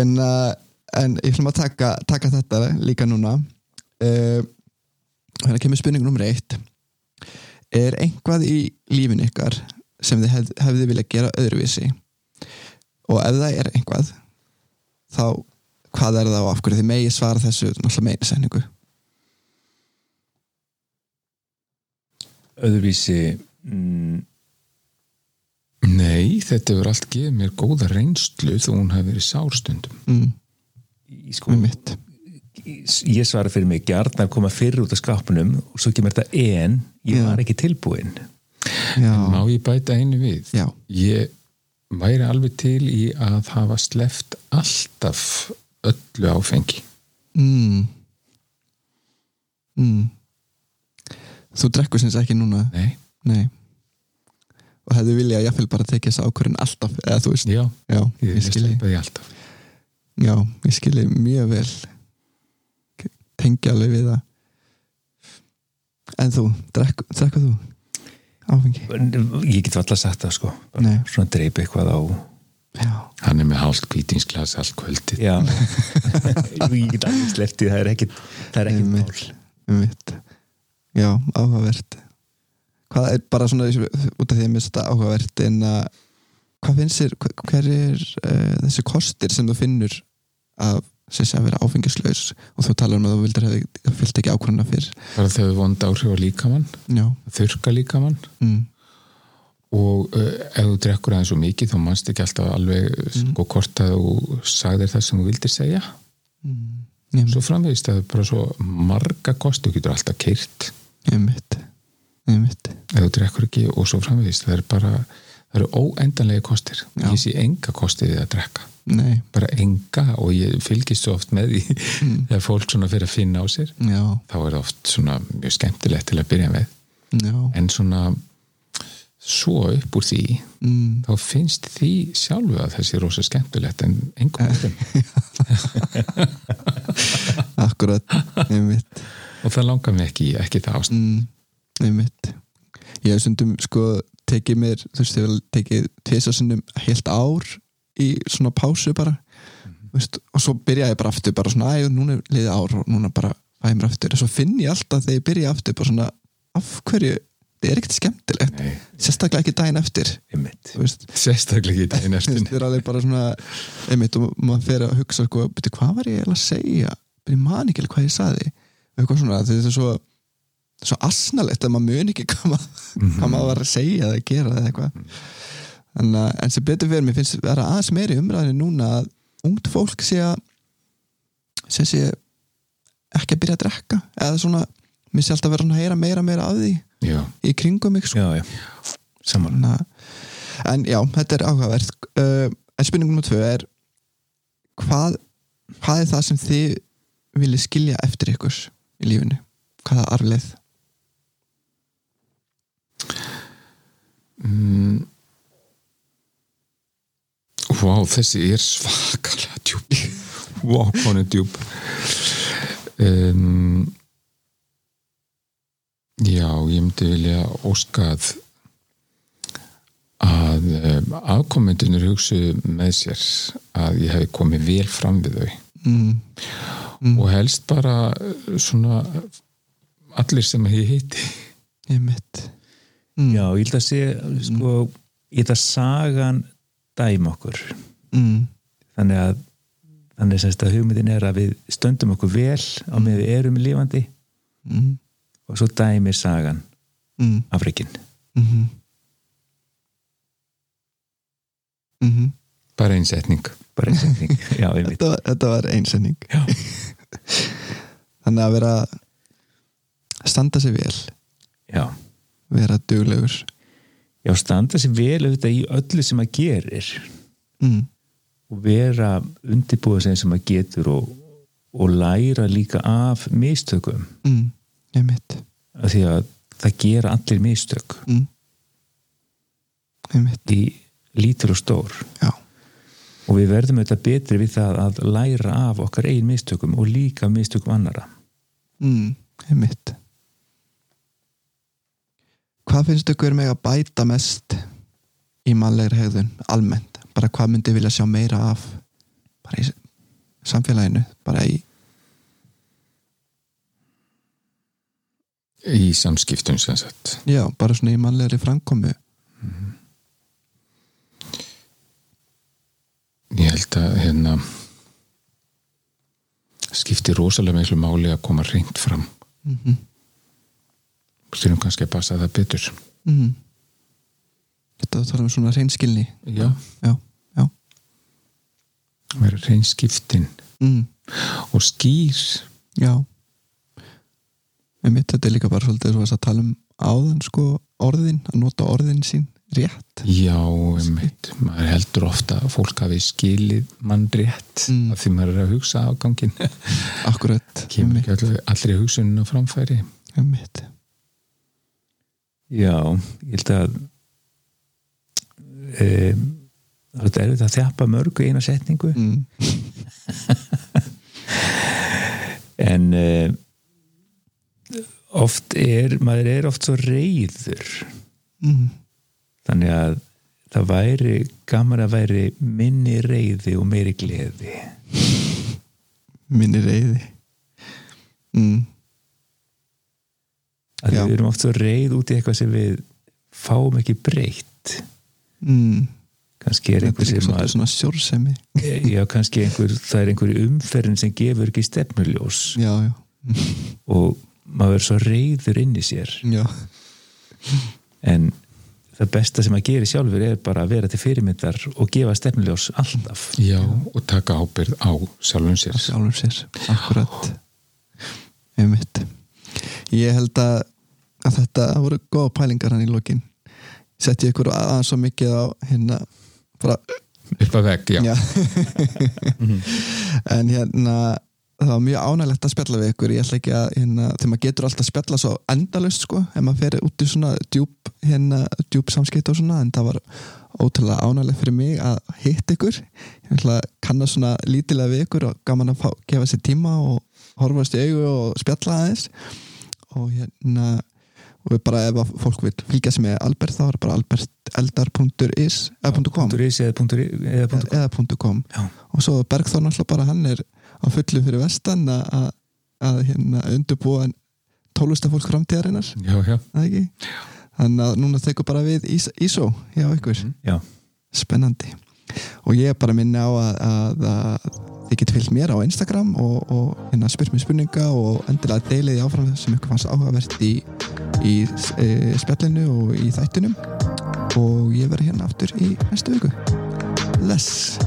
en, uh, en ég ætlum að taka, taka þetta líka núna uh, hérna kemur spurning nummer eitt er einhvað í lífin ykkar sem þið hef, hefði viljað gera öðruvísi og ef það er einhvað þá hvað er það og af hverju þið megi svara þessu náttúrulega meina senningu öðruvísi mm, nei, þetta hefur allt gefið mér góða reynslu þó hún hafi verið sárstundum mm, í sko, með mitt ég svara fyrir mig gjarnar koma fyrir út af skapnum og svo kemur þetta en ég Já. var ekki tilbúin má já, ég bæta einu við já, ég væri alveg til í að hafa sleft alltaf öllu áfengi mm. Mm. þú drekkur sinns ekki núna nei, nei og hefðu viljað jafnvel bara tekið þessa ákvörðin alltaf eða þú veist, já, já, ég ég vil skilji sleppa því alltaf já, ég skilji mjög vel tengja alveg við það en þú, drekku, drekku þú áfengi, ég get alltaf sagt það sko Bara Nei. svona dreipa eitthvað á já, hann er með hálft kvítingsglas allt kvöldið [laughs] já ég get alveg sleftið, það er ekkit það er ekkit Einmitt. mál um vitt já, áhugavert hvað er bara svona út af því að mér finnst þetta áhugavert en að hvað finnst þér, hver- hver er uh, þessi kostir sem þú finnur af sessi að vera áfengislaus og þú talar um að þú vildir hefði fyllt ekki ákvörðuna fyrr bara þau vond áhrif á líkamann já, þurka líkamann mm. og uh, ef þú drekkur aðeins og mikið þá manst ekki alltaf alveg sko hvort að þú sagðir það sem þú vildir segja ég svo framvegist að það er bara svo marga kosti, þú getur alltaf keirt mitt ég mitt, ef þú drekkur ekki og svo framvegist það er bara, það eru óendanlega kostir Já. ég sé enga kosti við að drekka nei bara enga og ég fylgist svo oft með því þegar fólk svona fyrir að finna á sér já, þá er það oft svona mjög skemmtilegt til að byrja með já, en svona svo upp úr því mm. þá finnst því sjálfu að þessi er rosa skemmtilegt en engum öllum akkurat ég mitt og það langar mig ekki, í- ekki það ást mm, einmitt ég hef stundum sko tekið mér þú veist, ég hef alveg tekið tvisa sinnum heilt ár í svona pásu bara veist, og svo byrja ég bara aftur bara svona, æ, núna er liðið ár og núna bara fæ ég mér aftur og svo finn ég alltaf þegar ég byrja aftur bara svona, af hverju þetta er ekkert skemmtilegt, Nei. sérstaklega ekki daginn eftir einmitt þú veist sérstaklega í daginn eftir það er alveg bara svona einmitt og maður fer að hugsa sko, beti, hvað var ég eiginlega að segja bara ég man ekki alveg hvað ég saði eitthvað svona, því þetta er svo svo asnalegt að maður mun ekki hvað maður, hvað maður var að segja eða gera eða eitthvað en, eh, en sem betur fyrir mér finnst vera aðeins meiri umræðinu núna að ungt fólk sé að sé sé ekki að byrja að drekka eða svona, mér sé alltaf vera svona að heyra meira meira af því já, í kringum mig sko já, já, saman Þannig að, en já, þetta er áhugavert uh, en spurning nr. 2 er hvað, hvað er það sem þið viljið skilja eftir ykkur í lífinu, hvaða arfleð Mm. Vá, þessi er svakalega djúb Vá, hvað hún er djúb um, Já, ég myndi vilja óskað að um, afkomendunir hugsu með sér að ég hefði komið vel fram við þau mm, og helst bara uh, svona allir sem ég hitti ég mitt Mm, já, ég held að sé sko, ég held að sagan dæm okkur mm, þannig að þannig semst að hugmyndin er að við stöndum okkur vel á meðan við erum lífandi mm, og svo dæmir sagan mm, Afrikin mm, mm, mm. bara einsetning bara einn [laughs] setning, já, einmitt Þetta, var- þetta var einsending já, [laughs] þannig að vera standa sig vel já, vera duglegur já, standa sér vel auðvitað í öllu sem maður gerir mm, og vera undirbúið sem sem maður getur og, og læra líka af mistökum mm, ég mitt af því að það gera allir mistök mm. ég mitt í lítur og stór Já, og við verðum auðvitað betri við það að læra af okkar eigin mistökum og líka af mistökum annara mm, einmitt Hvað finnst ykkur með að bæta mest í mannlegri hegðun almennt? Bara hvað myndi vilja sjá meira af bara í s- samfélaginu bara í, í samskiptum sem sagt já, bara svona í mannlegri framkomu ég held að hérna skipti rosalega miklu máli að koma reynd fram mm -hmm. þurfum kannski að passa það betur mhm. Þetta tala um svona reynskilni já, Já, já vera reynskiptin mm. og skýr Já einmitt, þetta er líka bara svolítið svo að tala um áðan sko orðin, að nota orðin sín rétt Já, einmitt, maður heldur ofta að fólk hafi skilið mann rétt Mm. af því maður er að hugsa afgangin akkurat, kemur ekki allri, allri hugsunum á framfæri einmitt Já, ég held að um, það er þetta erfitt að þjappa mörgu í eina setningu mm. en uh, oft er maður er oft svo reyður Mm. þannig að það væri gaman að væri minni reyði og meiri gleði minni reyði mm. að Já. við erum oft svo reyð út í eitthvað sem við fáum ekki breytt Mm. kannski er þetta einhver er líka sem svolítið að svona sjórsemi [laughs] já, kannski einhver, það er einhver umferðin sem gefur ekki stefnuljós já, já, og maður er svo reyður inn í sér já en það besta sem að gera sjálfur er bara að vera til fyrirmyndar og gefa stefnuljós alltaf Já, og taka ábyrð á sjálfum sér af sjálfum sér, akkurat einmitt ég held að, að þetta voru góða pælingar hann í lokin sett ég ykkur aðeins svo mikið á hérna bara, upp að vegg, já, já. en hérna það var mjög ánægilegt að spjalla við ykkur ég ætla ekki að, hérna, þegar maður getur alltaf að spjalla svo endalaust sko, ef maður fer út í svona djúb, hérna, djúb samskipti og svona, en það var ótrúlega ánægilegt fyrir mig að hitta ykkur ég ætla að kanna svona lítilega við ykkur og gaman að fá, gefa sér tíma og horfast í augu og spjalla aðeins og hérna og við bara ef að fólk vil fylgjast með Albert þá er bara alberteldar.is eða .com .is eða punktur i- eða punktur eða punktu .com Já. og svo Bergþór náttúrulega bara hann er á fullu fyrir vestan að- að að hérna undurbúa tólustafólk framtíðarinnar, já, já. eða ekki? Þannig að núna tekur bara við Ís- ISO hjá ykkur, já, spennandi og ég er bara að minna á að, að, að þið getur fylgt mér á Instagram og, og hérna spyrt mér spurninga og endilega deilið því áfram það sem ykkur fannst áhugavert í, í e, spjallinu og í þættinum og ég verð hérna aftur í næstu viku Bless